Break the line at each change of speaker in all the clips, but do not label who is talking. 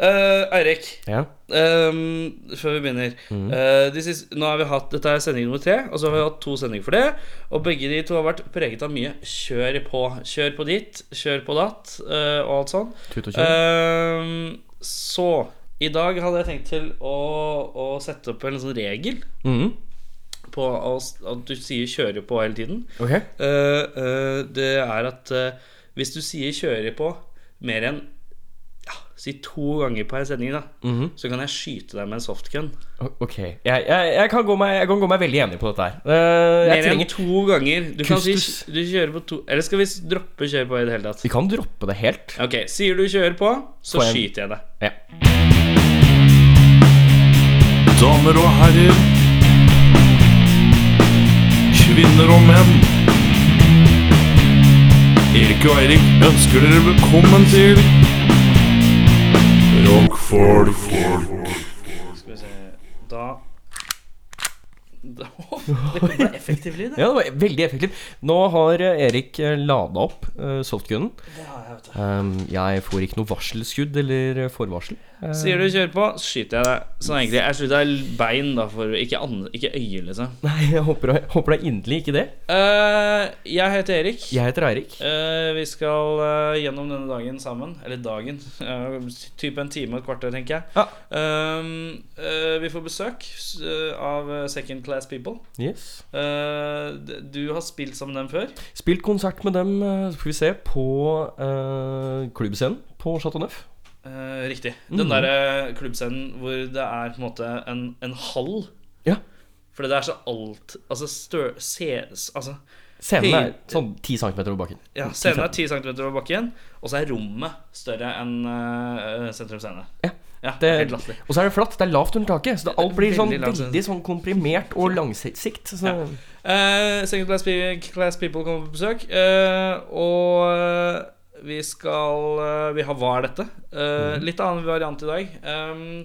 Eh, Eirik,
Ja.
ehm, før vi begynner
Mm.
Eh, de siste, nå har vi hatt, Dette er sending nummer tre, og så har vi hatt to sendinger for det. Og begge de to har vært preget av mye kjør på. Kjør på dit, kjør på datt eh, og alt sånn.
Tut og kjør.
Ehm, så i dag hadde jeg tenkt til å, å sette opp en sånn regel
Mhm.
på å s- at du sier 'kjører på' hele tiden.
Ok.
Eh, eh, det er at eh, hvis du sier 'kjører på' mer enn ja, si to ganger på en sending, da,
Mhm.
så kan jeg skyte deg med en softgun.
O- Ok. Jeg, jeg, jeg, kan gå meg, jeg kan gå meg veldig enig på dette her. Eh, jeg
Mer enn
trenger
to ganger. Du kan si
Kustus.
du kjører på to Eller skal vi s- droppe 'kjører på' i det hele tatt?
Vi kan droppe det helt.
Ok, Sier du 'kjører på', så
Får jeg en-
skyter jeg deg.
Ja.
Damer og herrer. Kvinner og menn. Erik og Eirik ønsker dere velkommen til Rockfolk.
Skal vi se Da da, det kom en effektiv lyd, det.
ja, det var veldig effektivt. Nå har eh, Erik lada opp eh, softgunen.
det har jeg, vet du.
Ehm, jeg får ikke noe varselskudd eller eh, forvarsel. Eh,
Sier du 'kjør på', så skyter jeg deg. Sånn egentlig. Jeg slutter bein, da, for ikke, an- ikke øye, liksom.
Nei, jeg håper, håper det er inderlig ikke det.
Eh, jeg heter Erik.
Jeg heter Eirik.
Eh, vi skal eh, gjennom denne dagen sammen. Eller dagen. eh, type en time og et kvarter, tenker jeg.
Ja.
Ehm, eh, vi får besøk s- eh, av eh, Second Class People.
Yes.
Eh, d- du har spilt sammen med dem før.
Spilt konsert med dem, eh, skal vi se, på eh, klubbscenen på Chateau Neuf.
Eh, riktig. Den
Mhm.
derre klubbscenen hvor det er på en måte en, en hall.
Ja.
Fordi det er så alt Altså, stø, ses, altså
Scenen er
Helt-
sånn 10 cm over bakken.
ja, Scenen er 10 cm over bakken, og så er rommet større enn eh, sentrum scene.
Ja.
Ja,
Det,
helt latterlig.
og så er det flatt. Det er lavt under taket. Så det, alt blir sånn
Veldig lavt.
veldig sånn komprimert og langsikt. Så,
Ja. Eh, second class, Pe- class People kommer på besøk. eh, og eh, vi skal eh, Vi har Hva er dette? Eh, Litt annen variant i dag. Um,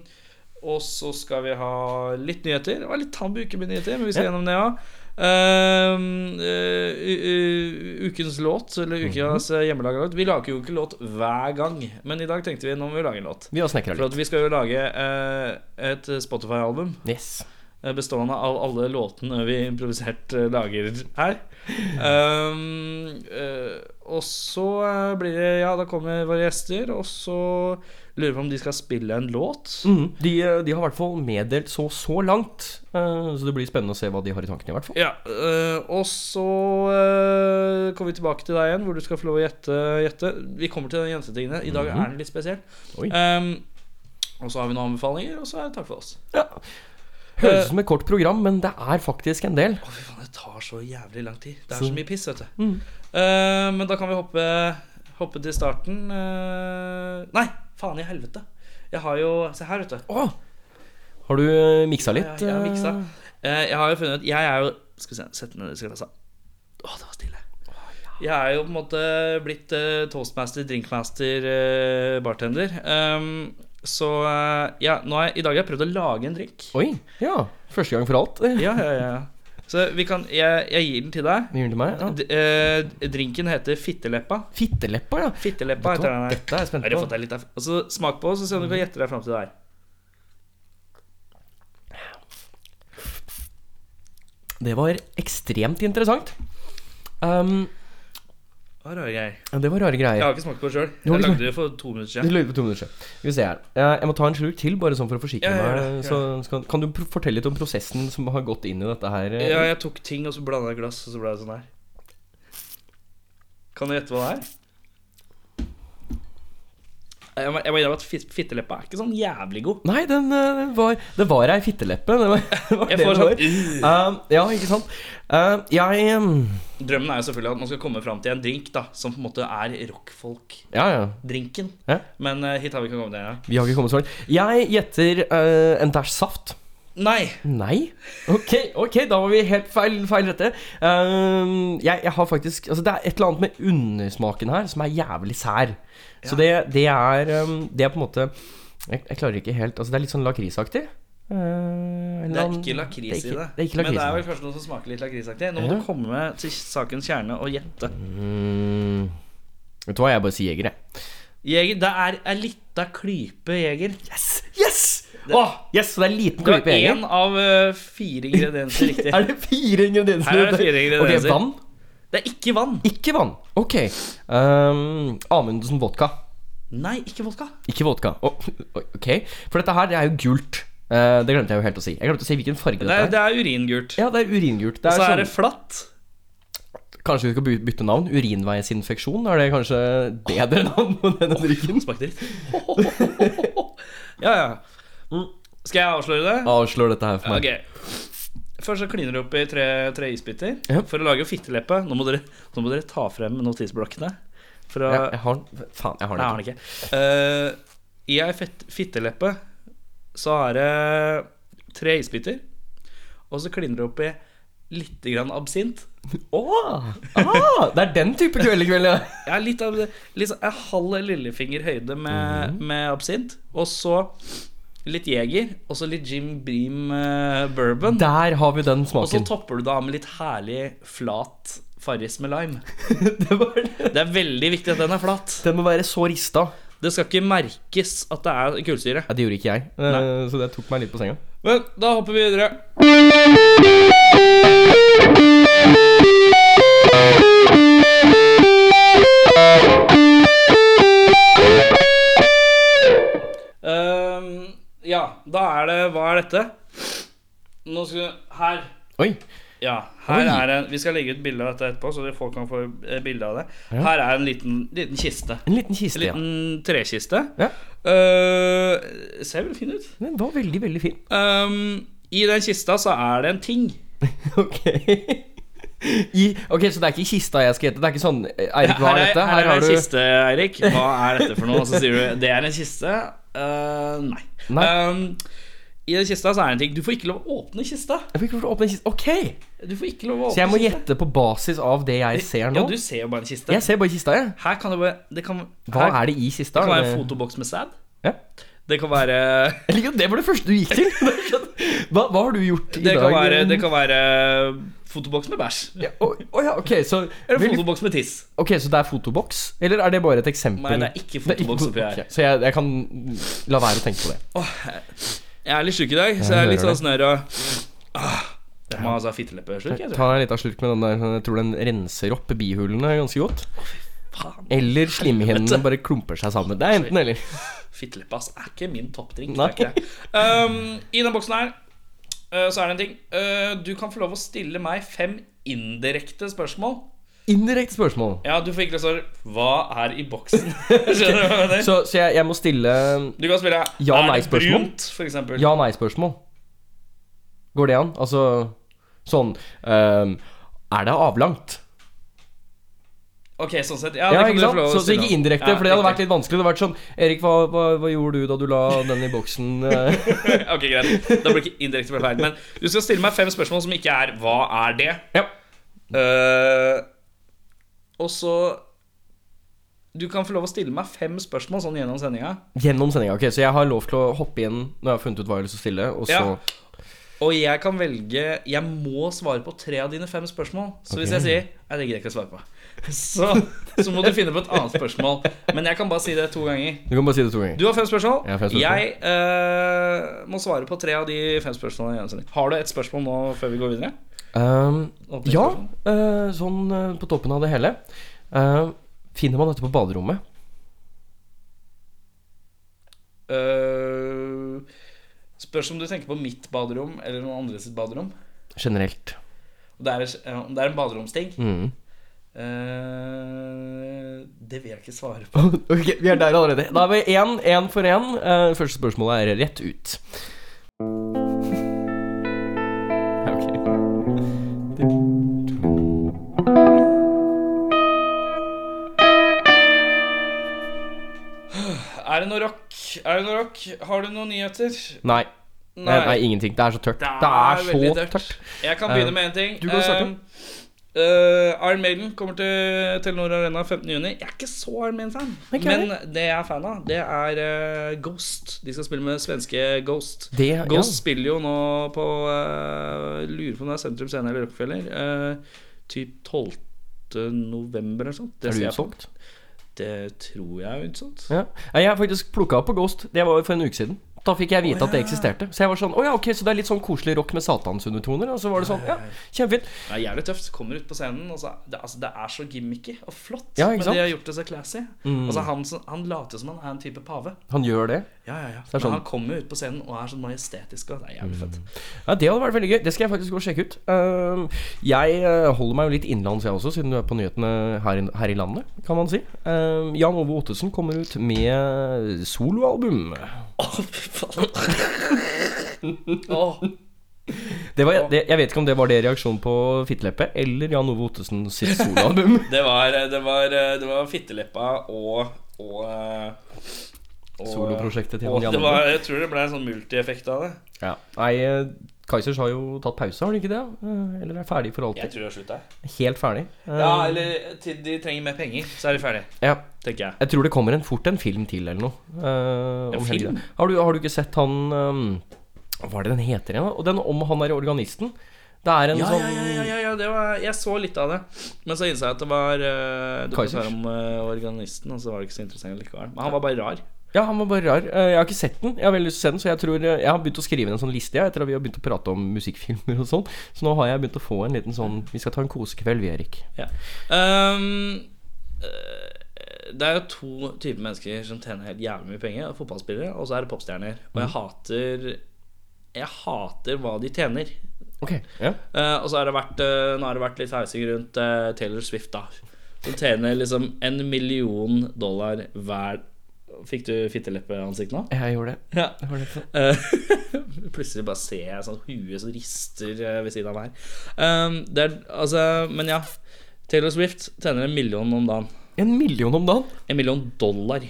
og så skal vi ha litt nyheter. Det var litt tann på uke med nyheter, men vi skal
Ja.
gjennom det òg. Um, eh, u- u- ukens låt, eller ukas mm hjemmelaga låt. Vi lager jo ikke låt hver gang, men i dag tenkte vi nå må vi lage en låt.
Vi har snekra
For
litt.
at vi skal jo lage eh, et Spotify-album
Yes.
eh, bestående av alle låtene vi improvisert eh, lager her. Um, eh, og så eh, blir det Ja, da kommer våre gjester, og så lurer vi på om de skal spille en låt.
Mhm. de, eh, de har i hvert fall meddelt så så langt, eh, så det blir spennende å se hva de har i tankene. i hvert fall
Ja, eh, og så eh, kommer vi tilbake til deg igjen, hvor du skal få lov å gjette. gjette. Vi kommer til den jentetingene. I dag er den litt spesiell.
Oi.
Um, og så har vi noen anbefalinger, og så er det takk for oss.
ja.
Eh,
Høres ut som et kort program, men det er faktisk en del.
Å, fy faen, det tar så jævlig lang tid. Det er
Så-
så, mye piss, vet du.
Mm.
Eh, men da kan vi hoppe, hoppe til starten. Eh, nei, faen i helvete. Jeg har jo Se her, vet du.
Å! Har du miksa litt?
Jeg, jeg, har miksa.
eh?
Eh, jeg har jo funnet Jeg er jo Skal vi se, sette ned skrelassa. Å, det var stille. Jeg er jo på en måte blitt eh, toastmaster, drinkmaster, eh, bartender. Um, så eh, ja, nå har jeg, i dag har jeg prøvd å lage en drink.
Oi. Ja. Første gang for alt. eh.
Ja, ja, ja. Så vi kan Jeg, jeg gir den til deg.
Det gir den til meg. Ja.
D eh, drinken heter Fitteleppa.
Fitteleppa, ja.
Fitteleppa heter den her.
Dette er jeg spent
Har du fått
på.
deg litt av altså, Smak på, så ser du om du kan gjette deg fram til det her.
Det var ekstremt interessant. Um,
Hva rare greier.
ja, det var rare
Jeg
greier.
har ikke smakt på det sjøl.
Du har
Jeg
ikke
lagde det for to minutter
Du
siden.
lurer på to minutter siden. Skal vi se her. Eh, Jeg må ta en slurk til, bare sånn for å forsikre
Ja, ja, ja,
meg.
ja.
Så skal, kan du pro- fortelle litt om prosessen som har gått inn i dette her? eh?
Ja, jeg tok ting, og så blanda jeg glass, og så ble det sånn her. Kan du gjette hva det er? Jeg må, jeg må innrømme at fit- fitteleppa er ikke sånn jævlig god.
Nei, den, eh, den var Det var ei fitteleppe. Det var, det var
Jeg
det
får
det
sånn
var. Eh, ja, ikke sant. Eh, jeg mm,
Drømmen er jo selvfølgelig at man skal komme fram til en drink da som på en måte er rockfolk-drinken.
Ja, ja. Ja.
Men eh, hit har vi ikke kommet ennå.
Vi har ikke kommet så langt. Jeg gjetter eh, en dæsj saft.
Nei!
Nei? Ok, ok, da var vi helt feil, feil rette. Ehm, jeg, jeg har faktisk Altså, det er et eller annet med undersmaken her som er jævlig sær. Så det, det er ehm, Det er på en måte Jeg, jeg klarer ikke helt Altså, det er litt sånn lakrisaktig. Eh, en
Det
eller
er
annen-
ikke lakris
det er
i
ikke-
det.
Det er ikke lakris
Men det er
i
vel
det.
kanskje noe som smaker litt lakrisaktig. Nå må
Ja.
du komme til sakens kjerne og gjette.
Mm, vet du hva, jeg bare sier jeger, jeg.
Jeger, det er ei lita klype jeger.
Yes! Åh, yes, så det er liten
Du har
klype
én
jeger.
av eh, fire ingredienser riktig.
Er det fire ingredienser?
Her er det fire ingredienser.
Ok, vann?
Det er ikke vann.
Ikke vann. Ok. Um, Amundsen vodka.
Nei, ikke vodka.
Ikke vodka. Å, ok. For dette her, det er jo gult. Eh, det glemte jeg jo helt å si. Jeg glemte å si hvilken farge
Det
dette
er,
er.
det er uringult.
Ja, det er uringult.
Og
Det er
så er
sånn,
det flatt.
Kanskje vi skal by- bytte navn? Urinveisinfeksjon? Er det kanskje bedre navn på denne drikken?
Smakte dritt. Ja, ja.
Mm.
Skal jeg avsløre det?
Avslår dette her for meg.
Ok Først så kliner du opp i tre, tre isbiter
Ja.
For å lage fitteleppe nå må, dere, nå må dere ta frem notisblokkene For å
Jeg, jeg har den Faen, jeg har
Nei,
den
har
ikke.
den ikke Eh, I ei fett, fitteleppe Så har jeg tre isbiter Og så kliner du opp i litt grann absint
Åh, ah, det er den type kveld i kveld, ja.
Jeg er litt av litt sånn- En halv lillefinger høyde med,
Mhm.
med absint Og så litt jeger Og så litt Jim Beam eh, bourbon
Der har vi den
Og så
smaken.
topper du det av med litt herlig flat Farris med lime.
Det var det.
Det er veldig viktig at den er flat.
Den må være så rista.
Det skal ikke merkes at det er kullsyre.
Ja, det gjorde ikke jeg, eh,
Nei.
så det tok meg litt på senga.
Men da hopper vi videre. Ehm, ja, da er det Hva er dette? Nå skal du Her.
Oi.
Ja, her
Oi.
er en, Vi skal legge ut bilde av dette etterpå, så folk kan få eh, bilde av det.
Ja.
Her er en liten, liten kiste.
En liten
En
kiste, ja.
liten trekiste.
ja.
Eh, ser veldig fin ut.
Den var veldig, veldig fin.
Um, I den kista så er det en ting.
Ok. I, ok, Så det er ikke kista jeg skal hete? Det er ikke sånn eh, Eirik, hva
her
er
er,
dette?
her er
har
en
du-
kiste, Eirik. Hva er dette for noe? Og så sier du det er en kiste. Eh, nei.
Nei.
Um, I den kista så er det en ting. Du får ikke lov å åpne kista.
Jeg fikk ikke lov til å åpne en kiste. Ok!
Du får ikke lov å åpne
Så jeg må
kista.
gjette på basis av det jeg ser nå?
Ja, du ser jo bare en kiste.
Jeg ser bare kista, jeg.
Her kan det være Det kan,
Hva
her,
er det i
det
kista?
kan være en fotoboks med sæd.
Ja.
Det kan være
Jeg liker at det var det første du gikk til. Hva, hva har du gjort i
Det
dag?
kan være, det kan være eh, fotoboks med bæsj.
ja, å, å ja, ok, så
Eller
vel-
fotoboks med tiss.
Ok, så det er fotoboks? Eller er det bare et eksempel?
Nei, det er ikke
Det er ikke
fotoboks oppi her.
ok, Så jeg, jeg kan la være å tenke på det.
Jeg er litt sjuk i dag, så jeg er litt sånn snørr og Ah, Jeg må altså ha fitteleppesjuk. jeg, tror.
Ta deg litt av slurk med den der. sånn, Jeg tror den renser opp bihulene ganske godt.
Faen.
Eller slimhinnene bare klumper seg sammen. Det er enten eller.
Fitteleppe ass, er ikke min toppdrink.
Nei.
Det er ikke det. Um, I den boksen her eh, så er det en ting. Eh, du kan få lov å stille meg fem indirekte spørsmål.
Indirekte spørsmål.
Ja, du får ikke lov til å svare 'Hva er i boksen?' Skjønner du hva jeg mener?
Så, så jeg, jeg må stille
Du kan spille
Ja,
'Er det
nei-spørsmål?
brunt?' for eksempel.
ja-nei-spørsmål. Går det an? Altså sånn ehm, Er det avlangt?
Ok, sånn sett. Ja, det
Ja,
kan
ikke
du få
sant?
lov å
Så, så
stille
ikke
om.
indirekte,
Ja,
for det hadde vært
riktig.
litt vanskelig. Det hadde vært sånn Erik, hva, hva, hva gjorde du da du la den i boksen? eh?»
Ok, greit. Da blir det ikke indirekte feil. Men du skal stille meg fem spørsmål som ikke er 'Hva er det?'
ja.
Eh, og så Du kan få lov å stille meg fem spørsmål sånn gjennom sendinga.
Gjennom sendinga. Ok, så jeg har lov til å hoppe inn når jeg har funnet ut hva jeg har lyst til å stille, og så
Ja. Og jeg kan velge Jeg må svare på tre av dine fem spørsmål. Så hvis
Ok.
jeg sier Nei, det gidder jeg ikke å svare på. Så, så må du finne på et annet spørsmål. Men jeg kan bare si det to ganger.
Du kan bare si det to ganger.
Du har fem spørsmål.
Jeg har fem spørsmål.
Jeg, eh, må svare på tre av de fem spørsmålene. gjennom sending. Har du et spørsmål nå før vi går videre?
Ehm,
Åpningsspørsmål?
ja, eh, sånn eh, på toppen av det hele. Eh, finner man dette på baderommet?
Eh, spørs om du tenker på mitt baderom eller noen andre sitt baderom.
Generelt.
Og det er, eh, om det er en baderomsting.
Mm.
Eh, det vil jeg ikke svare på.
ok, vi er der allerede. Da er vi én, én for én. Eh, første spørsmålet er rett ut. Ok.
Er det noe rock? Er det noe rock? Har du noen nyheter?
Nei. Nei. Eh, Nei, ingenting. Det er så tørt. Det er,
veldig
så tørt.
Jeg kan
Eh,
begynne med én ting.
du kan starte.
Eh, eh, Iron Maiden kommer til Telenor Arena 15.6. Jeg er ikke så Iron Maiden-fan.
Ok.
Men det jeg er fan av, det er eh, Ghost. De skal spille med svenske Ghost.
Det, ja.
Ghost spiller jo nå på eh, Lurer på om det er Sentrum Scene eller Rockefeller. Uh, typ 12. november eller sånt. Det
Er
ser
du
jeg
utsolgt? Eh,
på. Det tror jeg er utsolgt.
Ja. Nei, Jeg har faktisk plukka opp på Ghost. Det var for en uke siden. Da fikk jeg vite at det eksisterte. Så jeg var sånn Å ja, ok, så det er litt sånn koselig rock med satansundertoner? Og så var det sånn Ja, kjempefint.
Det er jævlig tøft. Kommer ut på scenen, og så det, altså, det er så gimmicky og flott.
Ja,
men
ikke sant? Mm.
de har gjort det så classy. Altså, han, som- han later som han er en type pave.
Han gjør det.
Ja, ja, ja.
er sånn- Mm.
Men han kommer jo ut på scenen og er sånn majestetisk, og det er jævlig fett.
Ja, Det hadde vært veldig gøy. Det skal jeg faktisk gå og sjekke ut. Ehm, jeg eh, holder meg jo litt innenlands, jeg også, siden du er på nyhetene her i, her i landet, kan man si. Ehm, Jan Ove Ottesen kommer ut med soloalbum.
Å, fy faen. Åh.
Det var, det, jeg vet ikke om det var det reaksjonen på Fitteleppe eller Jan Ove Ottesen sitt soloalbum.
Det var, det var, det var fitteleppa og, og, og
Soloprosjektet til
og
han
det
Jan
var,
Ove.
Jeg tror det ble en sånn multieffekt av det.
Ja. Nei, eh, Kaizers har jo tatt pause, har de ikke det? Eh, Eller er ferdig for
Jeg
alltid?
tror det har slutta.
Helt ferdig. Eh,
Ja, eller til de trenger mer penger, så er de ferdige,
ja.
tenker jeg.
Jeg tror det kommer en, fort en film til eller noe. eh,
En
om
film?
helgen. Har du, har du ikke sett han eh, Hva er det den heter igjen? da? Og den om han der organisten. Det er en
Ja,
sånn
ja, ja, ja, ja, ja det var, jeg så litt av det. Men så innså jeg at det var uh,
Kaizers.
dokumentar om eh, organisten, og så var det ikke så interessant likevel. Men han var bare rar.
Ja, han var bare rar. Eh, Jeg har ikke sett den. Jeg har veldig lyst til å se den, så jeg tror eh, Jeg har begynt å skrive en sånn liste jeg, etter at vi har begynt å prate om musikkfilmer og sånn. Så nå har jeg begynt å få en liten sånn Vi skal ta en kosekveld, vi, Erik.
Ja. Ehm, eh, det er jo to typer mennesker som tjener helt jævlig mye penger. og Fotballspillere, og så er det popstjerner. Og jeg hater Jeg hater hva de tjener.
Ok. Ja.
Eh, og så har det vært eh, Nå har det vært litt hausing rundt eh, Taylor Swift, da. Som tjener liksom en million dollar hver Fikk du fitteleppeansikt nå?
Jeg gjorde det.
Ja.
Jeg gjorde det.
Eh, Plutselig bare ser jeg sånn huet som rister eh, ved siden av meg. Um, det er, altså, men ja. Taylor Swift tjener en million om dagen.
En million om dagen.
En million dollar.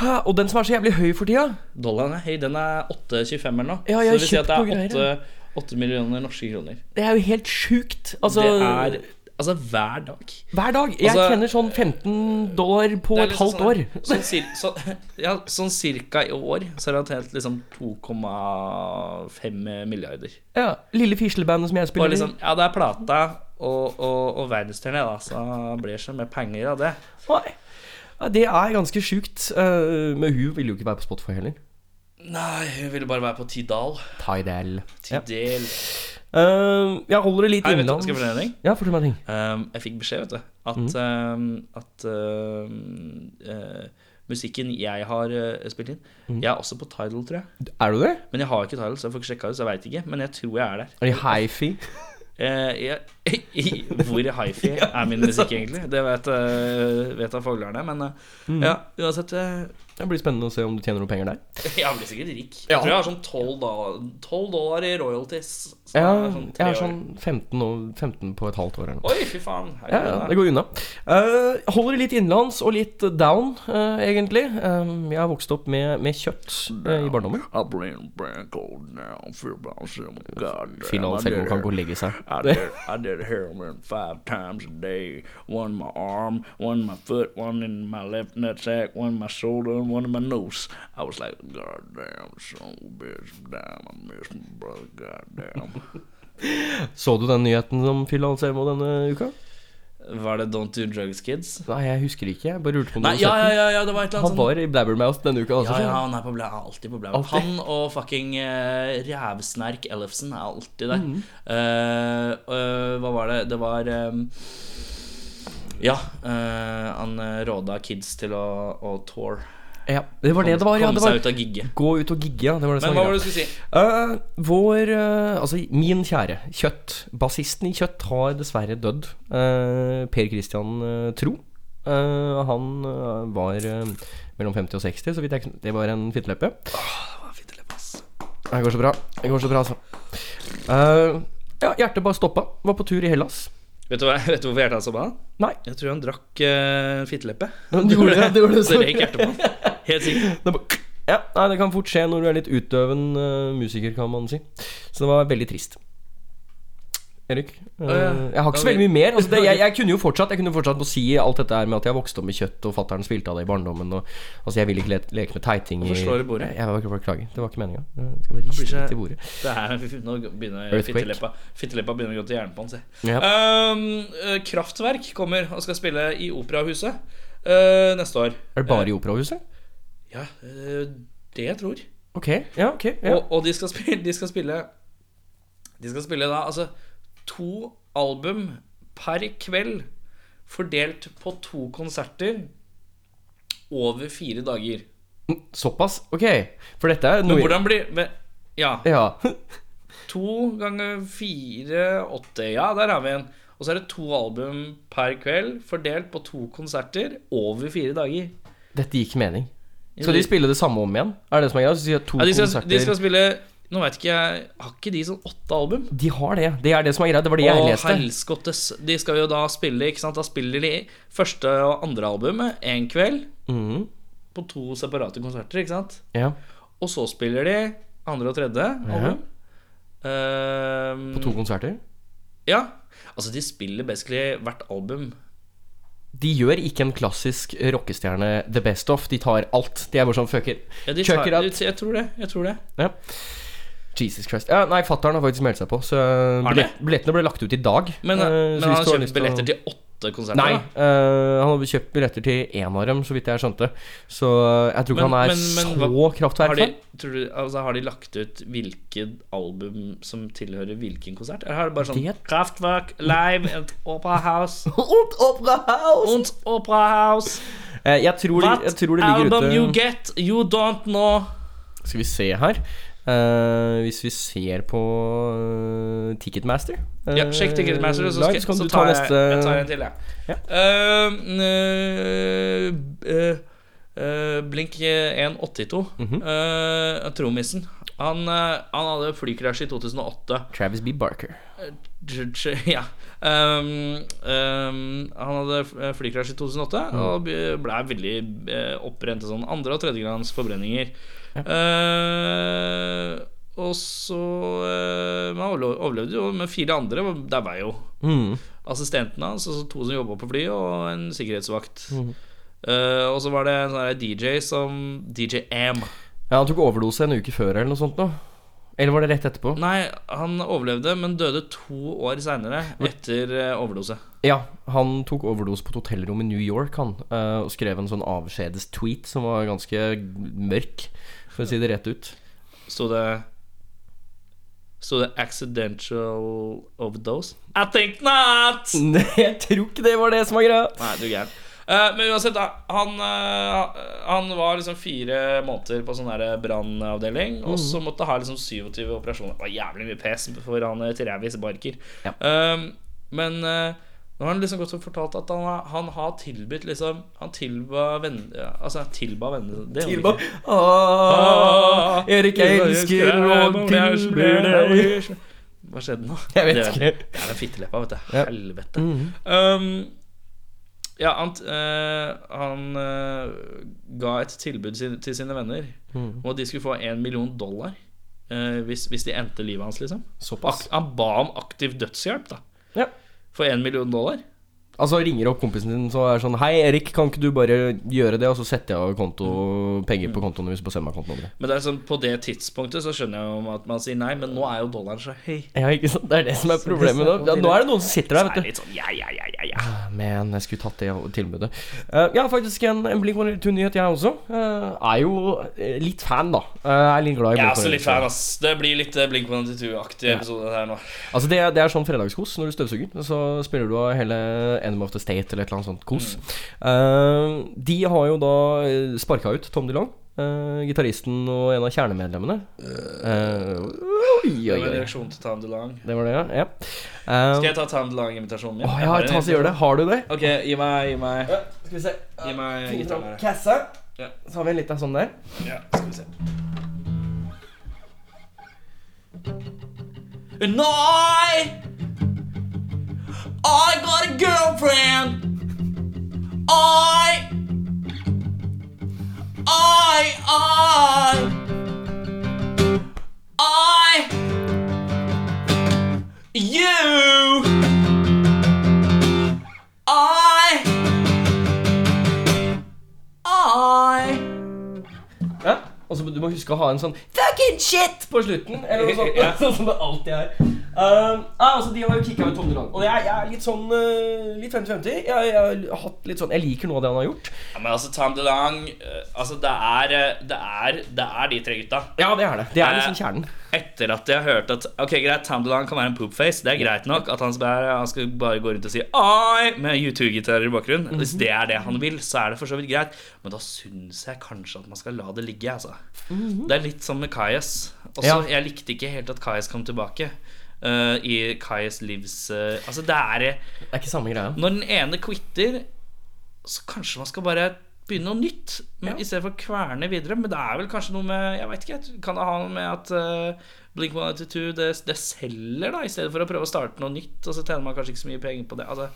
Hæ? Og den som er så jævlig høy for tida.
Dollaren er høy. Den er 8,25 eller noe.
Ja,
så det vil si
jeg har
at
kjøpt
det
noe
er 8, 8 millioner norske kroner.
Det er jo helt sjukt. Altså,
det er altså hver dag.
hver dag. Jeg
Altså-
tjener sånn 15 dollar på
Det er
et
liksom
halvt
sånn-
år.
Sånn, cir så, ja, sånn cirka i år så er det tjent liksom 2,5 milliarder.
Ja, Lille fislebandet som jeg
Og
spiller i.
liksom, ja, det er plata og, og, og verdensturné, da, så blir det så mye penger av det.
Nei. Ja, det er ganske sjukt. eh, men hun ville jo ikke være på Spotify heller.
Nei, jeg ville bare være på Tidal.
Tidal. Ja.
Tidal.
Eh, jeg holder det litt
Nei, vet du,
innenlands.
skal jeg fortelle deg en ting?
Ja, fortell meg en ting.
Um, jeg fikk beskjed, vet du, at, um, at um, eh, musikken jeg har eh, spilt inn Jeg er også på Tidal, tror jeg.
Er du det?
Men jeg har ikke Tidal, så jeg får ikke sjekka det, så jeg veit ikke. Men jeg tror jeg er der.
Er det hifi?
Eh, jeg, i- hvor hifi er min musikk, egentlig? Det vet, eh, vet jeg foglerne. Men eh, ja, uansett eh,
Det blir spennende å se om du tjener noen penger der.
Jeg blir sikkert rik.
Ja.
Jeg tror jeg har sånn 12 dollar, 12 dollar i royalties. Så
Ja,
det er sånn
jeg
tre
har
år.
sånn 15, og 15 på et halvt år eller noe.
Oi, fy faen. Herregud,
Ja, ja,
da.
det går unna. Eh, holder det litt innenlands og litt down, eh, egentlig. Eh, jeg har vokst opp med, med kjøtt eh, i barndommen.
I've been brain cold now. I feel about some goddamn.
Phil
I
Anselmo
did
kan
it.
gå og legge seg.
I did, I did heroin five times a day. One in my arm, one in my foot, one in my left nutsack, one in my shoulder, and one in my nose. I was like, goddamn, son of a bitch, damn, I miss my brother, goddamn.
Så du den nyheten som Phil Anselmo denne uka?
Var det Don't Do Drugs Kids?
Nei, jeg husker ikke. Jeg bare lurte på om du
Nei,
hadde
ja,
sett
ja,
den.
ja, ja, det var et eller
Han
annet sånn
var i Blabbermouth denne uka også. sånn.
ja, ja,
skjønner du.
han er på blæ, han er alltid på blæ.
Alltid.
Han og fucking eh, rævsnerk Ellefsen er alltid der.
Mm.
Eh, eh, hva var det? Det var ehm, Ja, eh, han eh, råda kids til å, å tour.
ja. Det var det det var, ja.
Komme
Det var
seg ut av gigge.
Gå ut og gigge, ja. Det var
Men
det som
hva
var
var
greia.
det du skulle si?
Eh, vår eh, Altså, min kjære Kjøtt. Bassisten i Kjøtt har dessverre dødd. Eh, per Christian eh, Tro. Eh, han eh, var eh, mellom 50 og 60, så vidt jeg kn- Det var en fitteleppe. Det går så bra. Det går så bra, altså. Eh, ja, hjertet bare stoppa. Var på tur i Hellas.
Vet du, hva, vet du hvorfor hjertet hans var sånn?
Nei.
Jeg tror han drakk eh, fitteleppe.
Du gjorde det, du gjorde det,
så
sorry.
røyk hjertet på han. Helt sikkert.
Det er bare, ja, nei, det kan fort skje når du er litt utøven eh, musiker, kan man si. Så det var veldig trist. Erik, eh,
ja.
jeg har ikke så
Ja, vi-
veldig mye mer. Altså det, jeg, jeg kunne jo fortsatt Jeg kunne jo fortsatt å si alt dette her med at jeg vokste opp med kjøtt, og fatter'n spilte av det i barndommen. Og, altså Jeg ville ikke le leke med teiting. i-
Hvorfor slår du bordet?
Jeg, jeg, beklager. Det var ikke meninga. Jeg Skal bare riste
seg-
litt i bordet.
Det er, nå begynner
Earthquake.
fitteleppa Fitteleppa begynner å gå til hjernen på han, se.
Ja.
Um, eh, kraftverk kommer og skal spille i Operahuset eh, neste år.
Er det bare i operahuset?
Ja, eh, det jeg tror.
Ok, ja, ok ja.
Og, og de, skal spille, de skal spille De skal spille da altså to album per kveld fordelt på to konserter over fire dager.
Mm, Såpass? Ok. For dette er
Men
noe
hvordan blir men, Ja.
Ja.
To ganger fire, åtte. Ja, der har vi en. Og så er det to album per kveld fordelt på to konserter over fire dager.
Dette gir ikke mening. Skal de spille det samme om igjen? Er det det som er greia? Så sier jeg to
Ja, de, skal,
konserter
de skal spille Nå veit ikke jeg Har ikke de sånn åtte album?
De har det. Det er det som er greia. Det var det jeg
Og
leste.
helskottes. De skal jo da spille, ikke sant. Da spiller de første og andre albumet én kveld
Mhm.
på to separate konserter, ikke sant.
Ja.
Og så spiller de andre og tredje album.
På
Ehm,
to konserter.
ja. Altså, de spiller basically hvert album.
De gjør ikke en klassisk rockestjerne the best of. De tar alt. De er bare sånn fucker.
Ja, de tar,
Chucker
de,
out.
jeg tror det. Jeg tror det.
Ja. Jesus Christ. Ja, nei, fatter'n har faktisk meldt seg på. Så eh,
det?
billett, billettene ble lagt ut i dag.
Men,
Eh, så
men
hvis
han har
du
kjøpt
lyst til å-
billetter til åtte konserter.
Nei,
da.
eh, han hadde kjøpt billetter til én av dem, så vidt jeg skjønte. Så eh, jeg tror ikke
Men-
han er
men- men
så
hva- Har
kraftverk.
de,
for.
tror du, altså, har de lagt ut hvilket album som tilhører hvilken konsert? Eller har det bare sånn
Det-
Kraftwerk, Live, and Opera House
Und Opera House!
Und Opera House
Eh, jeg, tror,
What
de- jeg tror det ligger
album you
ute
get, you don't know
Skal vi se her. Eh, hvis vi ser på eh, Ticketmaster eh,
Ja, sjekk Ticketmaster, så, skal,
live, så kan
så
du ta
tar jeg,
neste
jeg tar en til, jeg. Eh,
Ja.
eh, eh, Blink 182,
Mhm.
eh, trommisen, han, eh, han hadde flykrasj i 2008.
Travis B. Barker.
Tr- tr- Ja. Ehm, ehm, han hadde f- eh, flykrasj i 2008 og be- ble veldig eh, opprent av sånn andre- og tredjegrands forbrenninger. Eh, og så eh, Men han overlo- overlevde jo, men fire andre var- der var jo
Mm.
assistenten hans, altså to som jobba på flyet, og en sikkerhetsvakt. Eh, og så var det en sånn her DJ som DJ Am.
Ja, han tok overdose en uke før eller noe sånt nå. Eller var det rett etterpå?
Nei, han overlevde, men døde to år seinere etter eh, overdose.
Ja, han tok overdose på et hotellrom i New York, han. eh, og skrev en sånn avskjedes-tweet som var ganske mørk, for å si det rett ut.
Stod det Stod det 'accidental overdose'? I think not!
Nei, jeg tror ikke det var det som var greia.
Nei, du er gæren. Eh, men uansett, da. Han, eh, han var liksom fire måneder på sånn der brannavdeling. Og så måtte ha liksom 27 operasjoner. Det var jævlig mye pes for han eh, Travis Barker.
Ja.
Eh, men eh, nå har han liksom gått og fortalt at han, har- han har tilbudt liksom Han tilba venner Altså, han tilba venner det gjør han ikke. Ah.
Åh, Ah. Erik, jeg elsker og tilber deg
Hva skjedde nå?
Jeg vet
Det-
ikke.
Det er den fitteleppa, vet du.
Ja. Mm.
Helvete. Um, ja, han, t- eh, han eh, ga et tilbud sin, til sine venner
Mm.
om at de skulle få en million dollar eh, hvis, hvis de endte livet hans, liksom.
Såpass.
Ak- han ba om aktiv dødshjelp, da.
Ja.
For en million dollar.
Altså ringer opp kompisen din så er sånn Hei, Erik, kan ikke du bare gjøre det? Og så setter jeg av konto, penger på kontoen hvis du bare sender meg kontonummeret.
Men det er sånn, på det tidspunktet så skjønner jeg jo at man sier nei, men nå er jo dollaren så høy.
Ja, ikke sant? Det er det som er problemet nå. Ja, nå er det noen som
Så
sitter
er
der,
det
vet du.
litt sånn ja, ja, ja, ja, ja.
Men jeg skulle tatt det tilbudet. Eh, jeg har faktisk en, en Blink-182-nyhet, jeg også. Eh, er jo eh, litt fan, da. Eh, er litt glad i
Jeg er også
Blink-182.
litt fan, ass. Det blir litt eh, Blink-182-aktig episode her nå.
Altså det, er- det er sånn fredagskos når du støvsuger. Så spiller du av hele Enemy of the State eller et eller annet sånt kos.
Mm.
Eh, de har jo da sparka ut Tom DeLong, uh, gitaristen og en av kjernemedlemmene. Eh, oi,
Det var
oi,
en
oi.
reaksjon til Tom DeLong.
Det var det, ja. ja.
Skal
Eh,
jeg ta Tom DeLong-invitasjonen min?
Å
Jeg har
ja,
en
ta så gjør det. Har du det?
Ok, gi meg, gi meg
Skal vi se.
Gi meg
Finne
gitaren
fram
her.
Kassa.
Ja.
Så har vi en liten sånn der.
Ja, skal vi se. And I I got a girlfriend. I I I I You I I
Ja. Og så må- du må huske å ha en sånn fucking shit på slutten. Eller noe sånt. Sånn som det alltid er. Eh, ah, altså, de har jo kicka ut Tom Duran. Og jeg, jeg er litt sånn eh, litt 50-50. Jeg, jeg har hatt litt sånn Jeg liker noe av det han har gjort.
Ja, men altså, Tom DeLong eh, Altså, det er, eh, det er, det er de tre gutta.
Ja, det er det. Det er liksom kjernen.
Etter at jeg hørte at Ok, greit, Tom DeLong kan være en poopface. Det er greit nok at han skal, han skal bare gå rundt og si I med U2-gitarer i bakgrunnen. Hvis det er det han vil, så er det for så vidt greit. Men da syns jeg kanskje at man skal la det ligge, altså. Det er litt som med Kajas. Også,
Ja.
Jeg likte ikke helt at Kajas kom tilbake. eh, I Kajas livs eh, Altså, det er
Det er ikke samme greia.
Når den ene quitter, så kanskje man skal bare begynne noe nytt. Men, I stedet for å kverne videre. Men det er vel kanskje noe med Jeg vet ikke. jeg tror- Kan det ha noe med at eh, Blink 182 det, det selger, da, i stedet for å prøve å starte noe nytt, og så tjener man kanskje ikke så mye penger på det. Altså,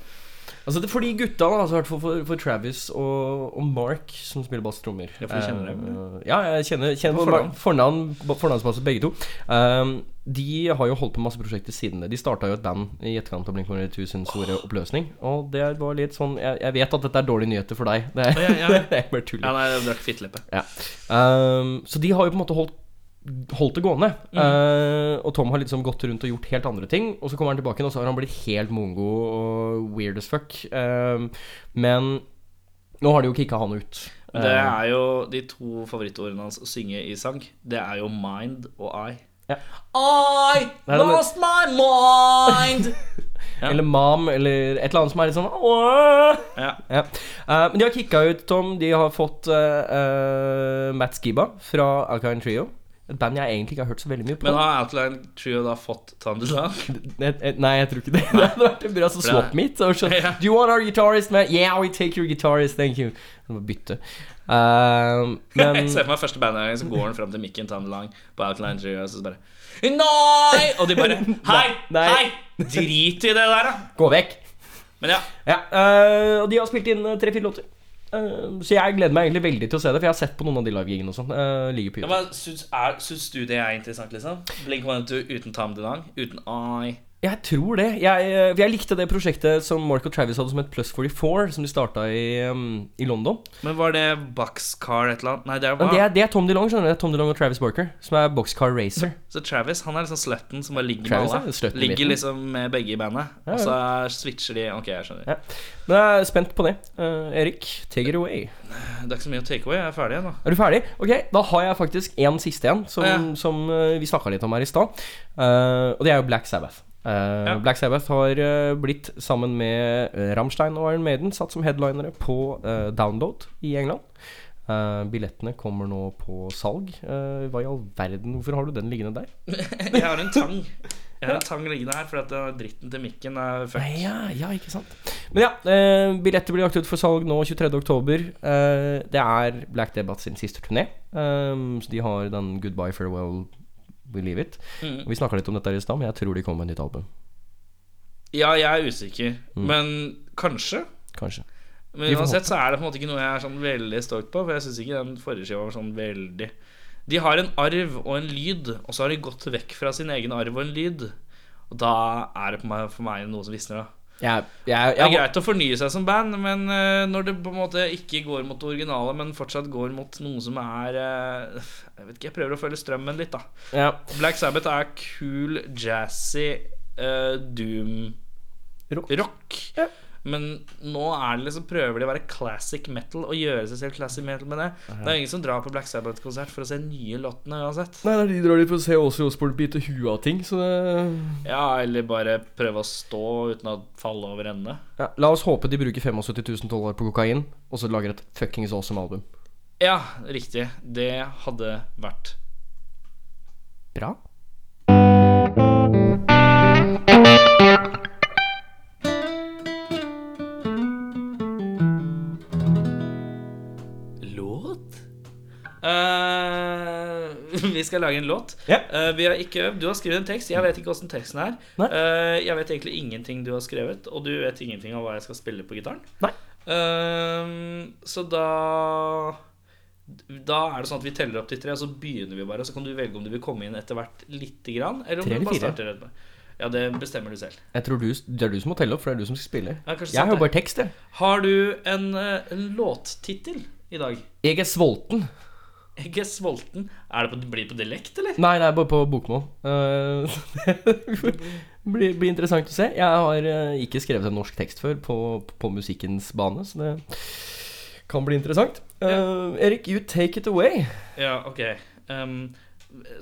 Altså, det, for de gutta, da, altså, i hvert fall for, for Travis og, og Mark, som spiller bass trommer
Ja, for du kjenner dem,
Eh, ja, jeg kjenner, kjenner
På fornavn?
fornavn, fornavn, ba- fornavnsbasis begge to. Eh, de har jo holdt på med masse prosjekter siden det. De starta jo et band i etterkant av Blink-182 sin store oppløsning. Og det var litt sånn Jeg, jeg vet at dette er dårlige nyheter for deg. Det,
ja, ja, ja.
det er bare tull.
ja, nei, jeg drakk fitteleppe.
Ja. Ehm, så de har jo på en måte holdt Holdt det gående.
Mm.
Eh, og Tom har liksom gått rundt og gjort helt andre ting. Og så kommer han tilbake, igjen, og så har han blitt helt mongo og weird as fuck. Ehm, men nå har de jo kicka han ut.
Men Det
Eh.
er jo de to favorittordene hans å synge i sang. Det er jo mind og I.
Ja.
I
Nei, den-
lost my mind! ja.
Ehm, Eller mam, eller et eller annet som er litt sånn Åh!
Ja.
Ja. Eh, men de har kicka ut Tom. De har fått eh, eh, Matt Skiba fra Alkain Trio. Et band jeg egentlig ikke har hørt så veldig mye på.
Men har Outline Trio da fått Thunderland?
Jeg- jeg- Nei, jeg tror ikke det. Det hadde vært en bra sånn
For det-
swap meet. Og så,
Ja.
Do you want our guitarist, man? Yeah, we take your guitarist, thank you. Jeg må bytte. Ehm, men
Jeg ser for meg første bandet så går han fram til mikken til han lang på Outline 3, og så bare Nei! Og de bare Hei!
Nei.
Hei! Drit i det der, da!
gå vekk.
Men ja.
Ja, eh, og de har spilt inn eh, tre-fire låter. Eh, så jeg gleder meg egentlig veldig til å se det, for jeg har sett på noen av de livegigene og sånn. eh, ligger på
ja
YouTube.
men syns, er, syns du det er interessant, liksom? Blink 182 uten Tom DeLong? Uten I?
Jeg tror det. Jeg, eh, for jeg likte det prosjektet som Mark og Travis hadde som het Plus 44, som de starta i, ehm, i London.
Men var det Boxcar et eller annet? Nei, det
Men det,
var
er, det er Tom DeLong, skjønner du. Det er Tom DeLong og Travis Barker, som er Boxcar Racer.
Så Travis han er liksom slutten som bare ligger
Travis
med
er
alle.
slutten i
Ligger
midten.
liksom med begge i bandet.
Ja,
Og så er- switcher de Ok, jeg skjønner.
Ja. Men jeg er spent på det. Eh, Erik, take it away.
Det er ikke så mye å take away. Jeg er ferdig nå.
Er du ferdig? Ok, da har jeg faktisk en siste en, som,
Ja.
som eh, vi snakka litt om her i stad. Eh, og det er jo Black Sabbath. Eh,
Ja.
Black Sabbath har eh, blitt, sammen med uh, Ramstein og Iron Maiden, satt som headlinere på eh, Download i England. Eh, billettene kommer nå på salg. Eh, hva i all verden, hvorfor har du den liggende der?
Jeg har en tang. Jeg har en tang liggende her fordi at den dritten til mikken er fucked.
Nei, ja, ja, ikke sant. Men ja, eh, billetter blir lagt ut for salg nå 23.10. Eh, det er Black Debate sin siste turné. Um, så de har den Goodbye, Farewell, We Leave It.
Mm.
Og Vi snakka litt om dette her i stad, men jeg tror de kommer med et nytt album.
Ja, jeg er usikker, men kanskje.
Kanskje.
Men
Mm. Vi får
uansett så er det på en måte ikke noe jeg er sånn veldig stolt på, for jeg syns ikke den forrige skiva var sånn veldig De har en arv og en lyd, og så har de gått vekk fra sin egen arv og en lyd. Og da er det på meg, for meg noe som visner, da.
Jeg, jeg,
Det er
jeg,
greit å fornye seg som band, men eh, når det på en måte ikke går mot det originale, men fortsatt går mot noe som er eh, Jeg vet ikke, jeg prøver å følge strømmen litt, da.
ja,
Black Sabbath er cool, jazzy, eh, doom
Rock. Ja.
Men nå er det liksom prøver de å være classic metal og gjøre seg selv classic metal med det. Det er ingen som drar på Black Sabbath-konsert for å se nye låtene uansett.
Nei, de drar dit for å se Åse Osborne bite huet av ting, så det
Ja, eller bare prøve å stå uten å falle over ende.
ja, La oss håpe de bruker 75 000 dollar på kokain, og så lager et fuckings awesome album.
Ja, riktig. Det hadde vært
Bra.
Låt? Eh, vi skal lage en låt.
Ja.
Eh, vi har ikke øvd. Du har skrevet en tekst. Jeg vet ikke åssen teksten er.
Nei.
Eh, jeg vet egentlig ingenting du har skrevet, og du vet ingenting om hva jeg skal spille på gitaren.
Nei.
Eh, så da Da er det sånn at vi teller opp til tre, og så begynner vi bare. Og så kan du velge om du vil komme inn etter hvert lite grann, eller om
Tre
du
eller
bare
fire?
starter rett med. Ja, det bestemmer du selv.
Jeg tror du, Det er du som må telle opp, for det er du som skal spille.
Ja, kanskje
jeg
sant
har
det.
jo bare tekst, jeg.
Har du en, eh, en låttittel i dag?
Jeg er svolten.
Ikke sulten. Er det på, blir det på dialekt, eller?
Nei, nei, bare på bokmål. Eh, så det blir, blir interessant å se. Jeg har eh, ikke skrevet en norsk tekst før på, på musikkens bane, så det kan bli interessant. Eh, Erik, you take it away.
Ja, ok. Ehm,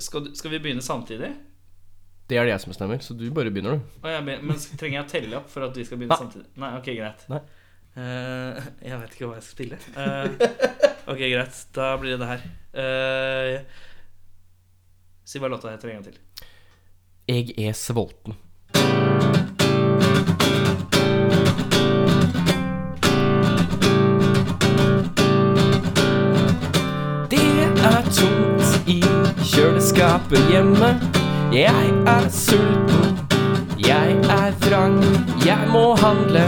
skal, du- skal vi begynne samtidig?
Det er det jeg som bestemmer, så du bare begynner, du.
Å, jeg be- men s- trenger jeg å telle opp for at vi skal begynne
Nei.
samtidig? Nei, ok, greit.
Nei.
Eh, jeg vet ikke hva jeg skal spille. Eh, ok, greit. Da blir det det her. Eh, si hva låta heter en gang til.
Jeg er sulten. Det er tomt i kjøleskapet hjemme. Jeg er sulten, jeg er vrang, jeg må handle.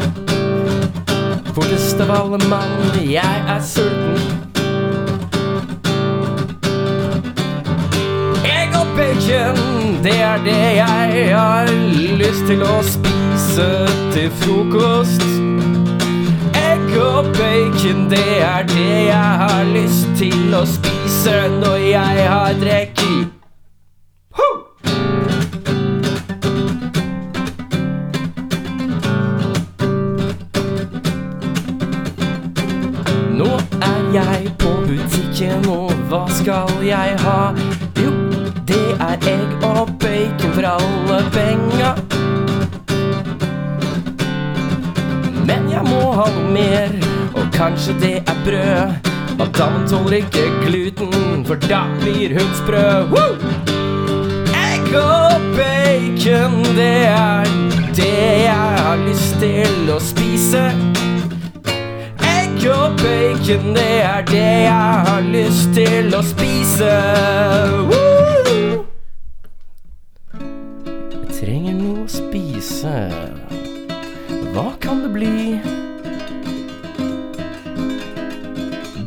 Fortest av alle mann, jeg er sulten. Egg og bacon, det er det jeg har lyst til å spise til frokost. Egg og bacon, det er det jeg har lyst til å spise når jeg har drukket. Ho! Nå er jeg på butikken, og hva skal jeg ha? Jo, det er egg og bacon for alle penga. Men jeg må ha noe mer, og kanskje det er brød. Madammen tåler ikke gluten, for da blir hun sprø. Woo! Egg og bacon, det er det jeg har lyst til å spise. Egg og bacon, det er det jeg har lyst til å spise. Woo! Jeg trenger noe å spise. Hva kan det bli?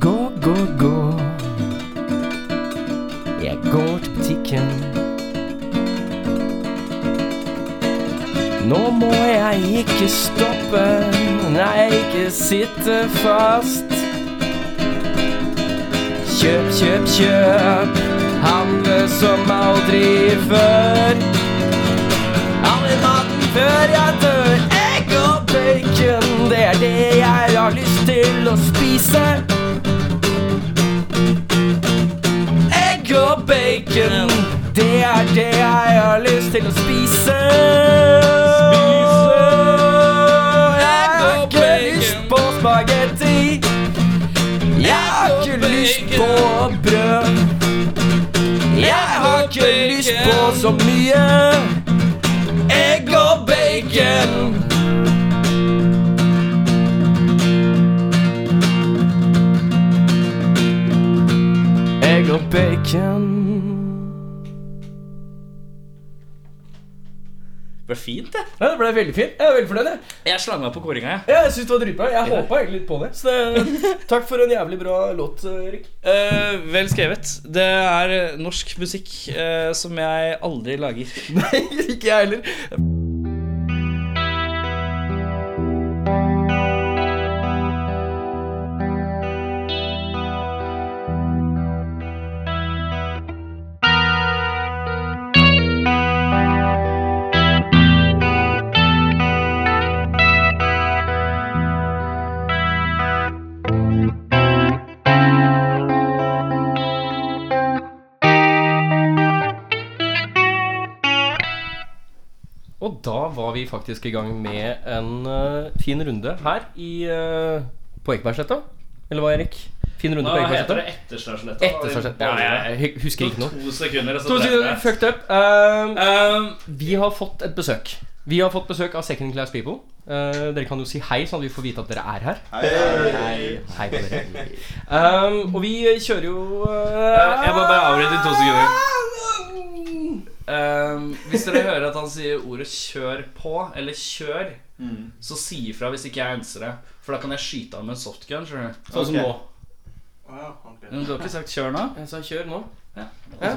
Gå, gå, gå. Jeg går til butikken. Nå må jeg ikke stoppe, nei, ikke sitte fast. Kjøp, kjøp, kjøp. Handle som aldri før. All i maten før jeg dør Egg og bacon Det er det jeg har lyst til å spise Egg og bacon Det er det jeg har lyst til å spise Jeg har
og
ikke
bacon.
lyst på spagetti Jeg har
og
ikke lyst
bacon.
på brød Jeg har ikke lyst på så mye egg og bacon. Egg og bacon.
Det ble fint, det.
Ja, det ble veldig fint. Jeg er veldig fornøyd. jeg.
Jeg slang meg på kåringa, jeg.
Ja, jeg syns det var dritbra. Jeg håpa egentlig litt på det. Så det, takk for en jævlig bra låt, Erik.
Eh, vel skrevet. Det er eh, norsk musikk eh, som jeg aldri lager.
Nei, ikke jeg heller. Og da var vi faktisk i gang med en eh, fin runde her i, eh, på Ekebergsletta. Eller hva, Erik? Fin runde på Ekebergsletta?
etterslarsletta?
Etterslarsletta. Ja, jeg hu- husker ikke noe.
To sekunder, og
To sekunder, fucked up. Ehm,
Um,
vi har fått et besøk. Vi har fått besøk av Second Class People. Eh, dere kan jo si hei, sånn at vi får vite at dere er her. Hei, hei på dere. Ehm, og vi kjører jo eh,
jeg må bare avbryte i to Um, hvis dere hører at han sier ordet 'kjør på' eller 'kjør', så si ifra hvis ikke jeg enser det. For da kan jeg skyte han med en softgun. skjønner du? Sånn som nå. Men du har ikke sagt 'kjør' nå?
Jeg sa Eh, kjør nå.
Ja.
Ja.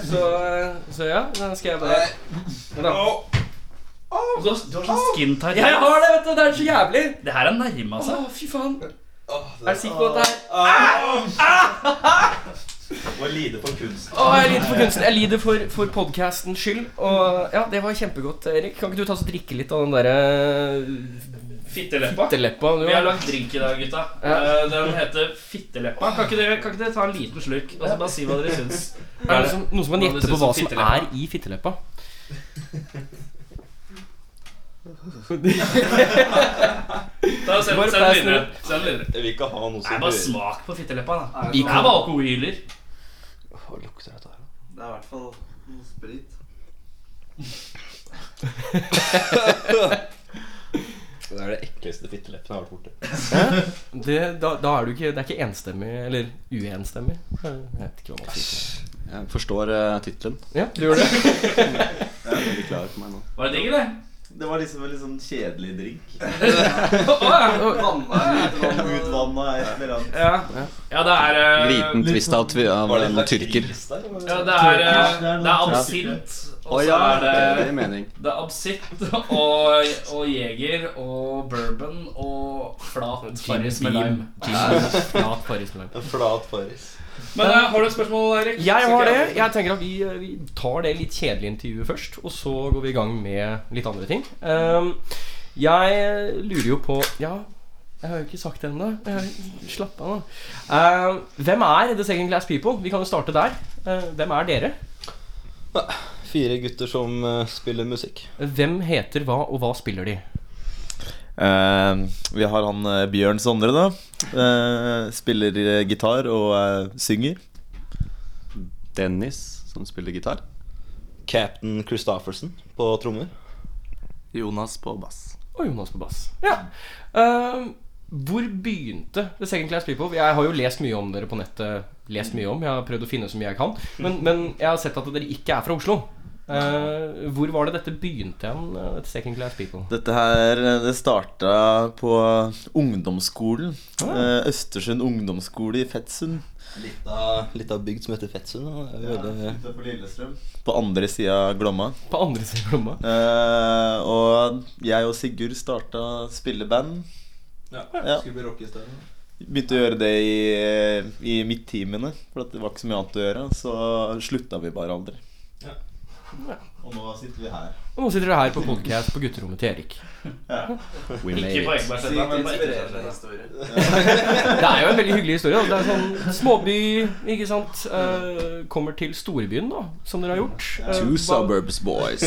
Så, eh, så ja, da skal jeg bare Vent da.
Du har, du har sånn skin tight.
Jeg har det, vet du! Det er så jævlig! Altså,
Det her er altså. nærma
Å,
seg.
fy faen. Er du sikker på at det er
å lide for kunsten.
Å, jeg lider for kunsten. Jeg lider for, for podkastens skyld. Og ja, det var kjempegodt, Erik. Kan ikke du ta og drikke litt av den derre
Fitteleppa.
fitteleppa du
Vi har
har?
lagd drink i dag, gutta.
Ja.
Eh, Den heter Fitteleppa. Kan ikke dere, kan ikke dere ta en liten slurk og så bare si hva dere syns?
Er det som, noen som kan
Hva det
gjette
ser
på
ut
hva
som
som er i fitteleppa?
Da send,
Bare
send den
pass
videre. Send den videre.
Jeg vil ikke ha noe
Nei,
som
bare smak på fitteleppa, da.
Er
Det
det,
Vi
er
kan-
bare alkohyler.
noe- det er i hvert fall noe sprit.
Det er det ekleste fitteleppene jeg har vært borti.
Det, da, da er du ikke, det er ikke enstemmig, eller uenstemmig. Jeg vet ikke hva man sier.
Jeg forstår uh, tittelen.
Ja, du gjør det.
Det er veldig klar for meg nå.
Var det digg, eller?
Det var liksom en litt sånn kjedelig drink.
Vanna
Utvanna et eller annet.
Ja. ja, det er eh,
Liten twist av, tvi- av
Var det
noen
litt
tyrker.
sånn
lakris der, sånn eller?
Ja, det er, eh,
Ja.
det er absint, og
Å
så
ja,
er
det
det
gir mening.
Det er absint og, og jeger og bourbon og flat farris med lime.
Flat Farris med lime.
En flat farris.
Men eh, har du et spørsmål, Erik?
Jeg
Så
har
ikke
det. Jeg tenker at vi, eh, vi tar det litt kjedelige intervjuet først, og så går vi i gang med litt andre ting. Ehm, jeg lurer jo på Ja, jeg har jo ikke sagt det ennå. Jeg- Slapp av, nå. Ehm, hvem er The Second Class People? Vi kan jo starte der. Eh, hvem er dere?
Fire gutter som eh, spiller musikk.
Hvem heter hva, og hva spiller de?
Eh, vi har han eh, Bjørn Sondre, da. Eh, spiller eh, gitar og eh, synger.
Dennis som spiller gitar.
Captain Christofferson på trommer.
Jonas på bass.
Og Jonas på bass. Ja. Ehm, hvor begynte The Second Class People? Jeg har jo lest mye om dere på nettet. Lest mye om, Jeg har prøvd å finne så mye jeg kan. Men, men jeg har sett at dere ikke er fra Oslo. Eh, hvor var det dette begynte igjen? eh, dette Second Class People
Dette her eh, det starta på ungdomsskolen.
Ah.
Eh, Østersund ungdomsskole i Fettsund.
Litt
Litt av bygd som heter Fettsund. da. Det er jo veldig-
Utafor Lillestrøm.
På andre sida av Glomma.
På andre siden av Glomma.
Eh, og jeg og Sigurd starta å spille band.
Ja.
Ja.
Skulle bli rockestjerne.
Begynte å gjøre det i, i midttimene, for at det var ikke så mye annet å gjøre. Så slutta vi bare aldri.
Og nå sitter vi her.
Og nå sitter dere her på podcast på gutterommet til Erik.
We
Ikke på Ekebergsletta, men på Etterstadsletta.
historie.
Det er jo en veldig hyggelig historie. Da. Det er sånn småby, ikke sant. Eh, kommer til storbyen, da, som dere har gjort. Eh,
Two
hva,
suburbs boys.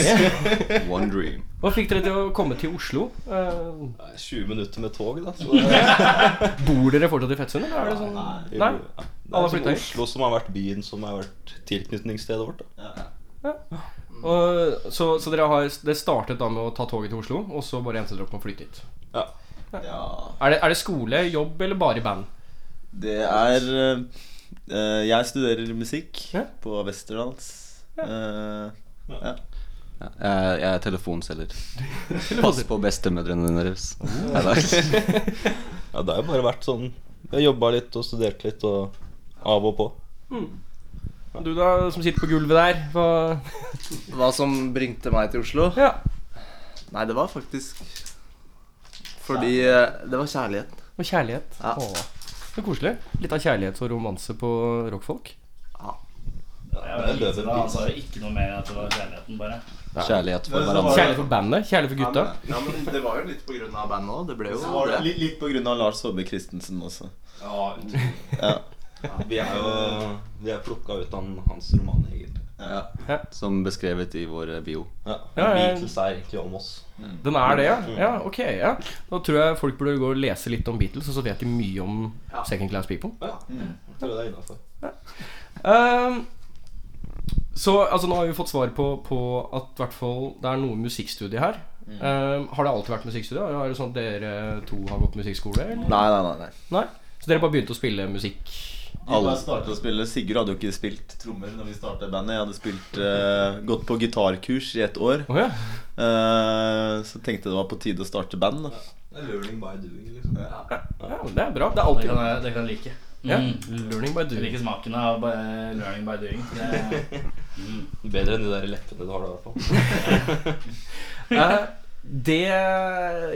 One dream.
hva fikk dere til å komme til Oslo? Eh,
20 minutter med tog, da. Så det
bor dere fortsatt i Fettsund, eller er det sånn
Nei.
Nei?
er
Alle har
som
flyttet hit.
Oslo som har vært byen som har vært tilknytningsstedet vårt. Da.
Og, så, så dere har det startet da med å ta toget til Oslo, og så bare endte dere opp med å flytte hit.
Ja.
Er det, er det skole, jobb eller bare i band?
Det er eh, Jeg studerer musikk
Ja.
på Westerdals. Eh,
Ja, jeg, jeg er telefonselger. Pass på bestemødrene deres. Neida.
ja, det har jo bare vært sånn Jeg jobba litt og studerte litt og av og på.
Du da, som sitter på gulvet der. Hva
Hva som bringte meg til Oslo?
Ja.
Nei, det var faktisk fordi eh, Det var kjærligheten.
Og kjærlighet.
Ja.
Åh, så koselig. Litt av kjærlighet og romanse på rockfolk.
Jeg var liten, da. Han sa jo ikke noe mer at det var kjærligheten, bare.
Kjærlighet for
Men så
hverandre.
var
Kjærlighet for bandet, kjærlighet for gutta.
Ja, men, ja, men det var jo litt på grunn av bandet òg. Det ble
Så
jo
var det
det.
litt, litt på grunn av Lars Saabye Christensen også.
Vi er jo Vi er plukka ut av hans roman, egentlig.
Som beskrevet i vår eh, bio.
Ja.
Ja, ja.
Beatles er egentlig om oss. Mm.
Den er det, ja? Ja, ok. ja Da tror jeg folk burde gå og lese litt om Beatles, og så vet de mye om Second Class People.
Ja. Jeg tror det er innafor.
Ehm, så altså, nå har vi fått svar på, på at i hvert fall det er noe musikkstudie her. Ehm, har det alltid vært musikkstudie? Er det sånn at dere to har gått musikkskole? Eller?
Nei, nei, nei. nei.
Nei? Så dere bare begynte å spille musikk?
Vi bare startet å spille Sigurd hadde jo ikke spilt trommer når vi startet bandet. Jeg hadde spilt, eh, gått på gitarkurs i ett år.
Å ja.
Eh, så tenkte jeg det var på tide å starte band. Da.
Det er learning by doing, liksom.
ja, men det er bra. Det er
Det
alltid
kan jeg, det kan jeg like.
ja.
Mm.
Learning by
Jeg
doing.
liker smaken av eh, learning by doing. Det-
Bedre enn de der leppene du har da, i hvert fall.
Eh, det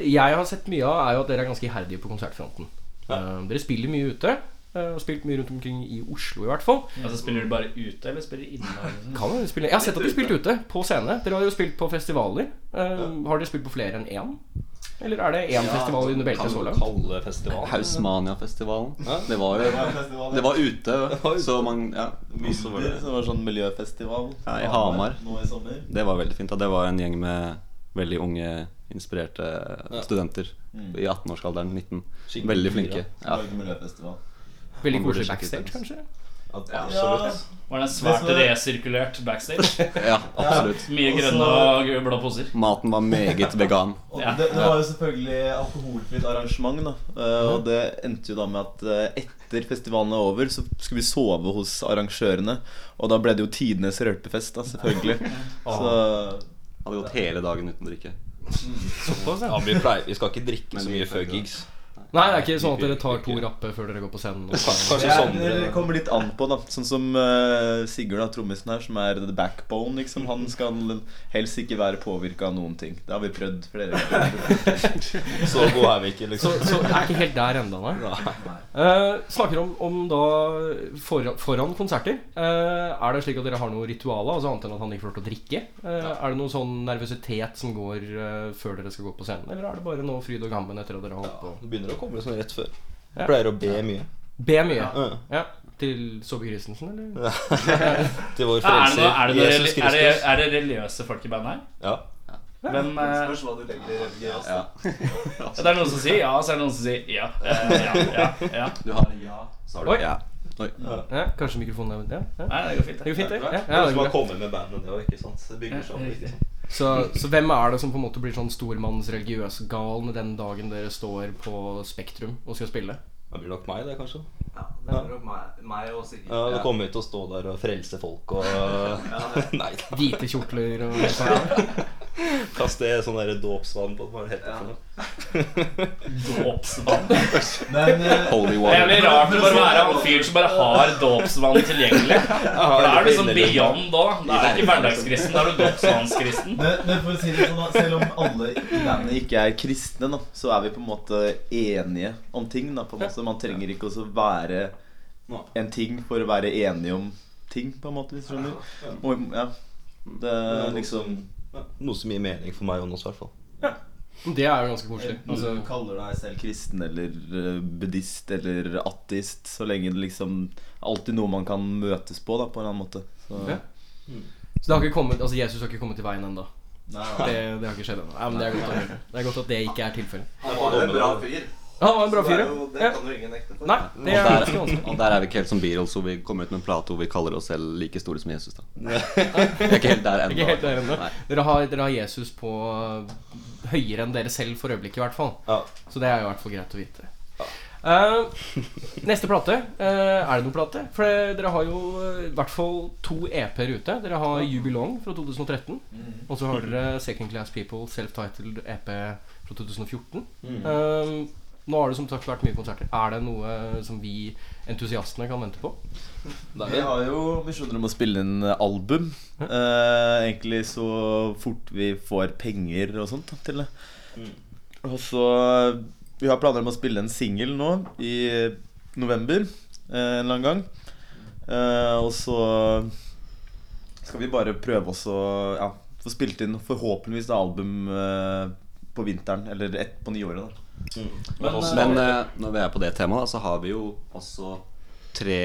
jeg har sett mye av, er jo at dere er ganske iherdige på konsertfronten. Eh, dere spiller mye ute. Eh, og spilt mye rundt omkring i Oslo, i hvert fall.
Altså, spiller du bare ute, eller spiller du inne?
Kan jo spille. Jeg har sett at de har spilt ute, på scene. Dere har jo spilt på festivaler. Eh, har dere spilt på flere enn én? Eller er det én festival under beltet så langt?
Kalde festival.
Hausmania-festivalen. Det var jo Det var ute, så man Ja. så var det-
Det var sånn miljøfestival
Ja, i Hamar.
nå i sommer.
Det var veldig fint. Da. Det var en gjeng med veldig unge, inspirerte studenter i 18-årsalderen. 19.
Mm. Skikkelig
Veldig flinke.
dyre.
Ja.
Norge miljøfestival.
Veldig
Man burde
koselig
sjekke ut
backstage,
det.
kanskje?
Absolutt.
Var det svært resirkulert backstage?
ja, absolutt.
Mye grønne og blå poser.
Maten var meget vegan.
Og
Ja.
det, det var jo selvfølgelig alkoholfritt arrangement. da Eh,
Mhm.
Og det endte jo da med at eh, etter festivalen er over, så skulle vi sove hos arrangørene. Og da ble det jo tidenes rølpefest, da, selvfølgelig. Så
Hadde gått hele dagen uten drikke.
Ja, vi, pleier, vi skal ikke drikke så mye før gigs.
Nei, det er ikke sånn at dere tar to rappe før dere går på scenen. og så-
Kanskje sånn, eh,
Ja, det
Sondre
kommer litt an på, da. Sånn som eh, Sigurd, da, trommisen her, som er the backbone. Liksom.
Mm.
Han skal helst ikke være påvirka av noen ting. Det har vi prøvd flere ganger.
Så gode er vi ikke, liksom.
Så, så det er ikke helt der ennå, nei. Eh, snakker om, om da foran, foran konserter. Eh, er det slik at dere har noen ritualer, altså annet enn at han ikke får lov til å drikke? Eh, Er det noen sånn nervøsitet som går eh, før dere skal gå på scenen, eller er det bare noe fryd og gammen etter at dere har holdt på?
Det begynner å komme sånn rett før.
Ja.
Pleier å be mye.
Be mye. Ja.
Ja.
Til Saabye Christensen, eller?
Til vår
Er det, noe, er,
frelser
det noe,
Jesus
er, det,
Kristus.
er det religiøse folk i bandet her?
Ja.
Hvem, eh,
Spørs hva du legger i religiøst.
det er noen som sier ja, og så er det noen som sier ja. eh, ja, ja, ja.
Du har ja, så har du
Oi.
ja. Oi.
Ja, kanskje mikrofonen er ja, ja.
Nei, det går fint.
Det
det.
går fint, det. Ja, ja,
Noen
det
som
går
har
bra.
kommet med bandet, det òg, ikke sant. Det bygger seg opp litt.
så, så hvem er det som på en måte blir sånn stormannsreligiøsgal den dagen dere står på Spektrum og skal spille?
Det blir nok meg, det, kanskje. sånn.
Ja, det er nok meg, meg og Sigurd.
Ja, Du kommer ut og stå der og frelse folk og Nei, da.
Hvite kjortler og sånn.
kaste sånn der dåpsvann på hva det heter for noe.
Dåpsvann.
Men eh,
Holy
Det er
water.
jævlig rart å bare være han fyren som bare har dåpsvann tilgjengelig. For da er du liksom beyond òg. Da er du ikke hverdagskristen, da er du dåpsvannskristen.
Men, men for å si det sånn da, Selv om alle i bandet ikke er kristne, da, så er vi på en måte enige om ting. Da, på en måte. Man trenger ikke også være en ting for å være enige om ting, på en måte, hvis du skjønner. Og, ja, det er liksom
Noe som gir mening for meg og Nås, i hvert fall.
Det er jo ganske koselig.
Du
Altså,
kaller deg selv kristen eller eh, buddhist eller ateist, så lenge det liksom Alltid noe man kan møtes på, da, på en eller annen måte. Så,
Ja. Så det har ikke kommet, altså Jesus har ikke kommet i veien ennå.
Nei,
Det, det har ikke skjedd ennå. Ja, men det er godt å høre. Det er godt at det ikke er tilfellet.
Han var jo en bra fyr.
Han var en bra
Det,
fyr,
er jo,
ja.
det kan jo ingen nekte for.
Nei, det er
Og
ganske
der,
vanskelig.
og der er vi ikke helt som Beatles, hvor vi kommer ut med en plate hvor vi kaller oss selv like store som Jesus. da Vi er ikke helt der
Ikke helt der ennå.
ennå.
Dere har, dere har Jesus på øh, høyere enn dere selv for øyeblikket, i hvert fall.
Ja.
Så det er jo i hvert fall greit å vite. Eh, neste plate. eh, er det noen plate? For det- dere har jo eh, i hvert fall to EP-er ute. Dere har You Belong fra 2013. Og så har dere Second Class People Self-Titled EP fra 2014. Eh, nå har det som sagt vært mye konserter. Er det noe som vi entusiastene kan vente på?
Vi har jo ambisjoner om å spille inn album. Eh, egentlig så fort vi får penger og sånt da, til det.
Mm.
Og så Vi har planer om å spille en singel nå i november eh, en eller annen gang. Eh, og så skal vi bare prøve oss å ja, få spilt inn forhåpentligvis da album eh, på vinteren. Eller ett på nyåret, da.
Men eh, når vi er på det temaet, da, så har vi jo også tre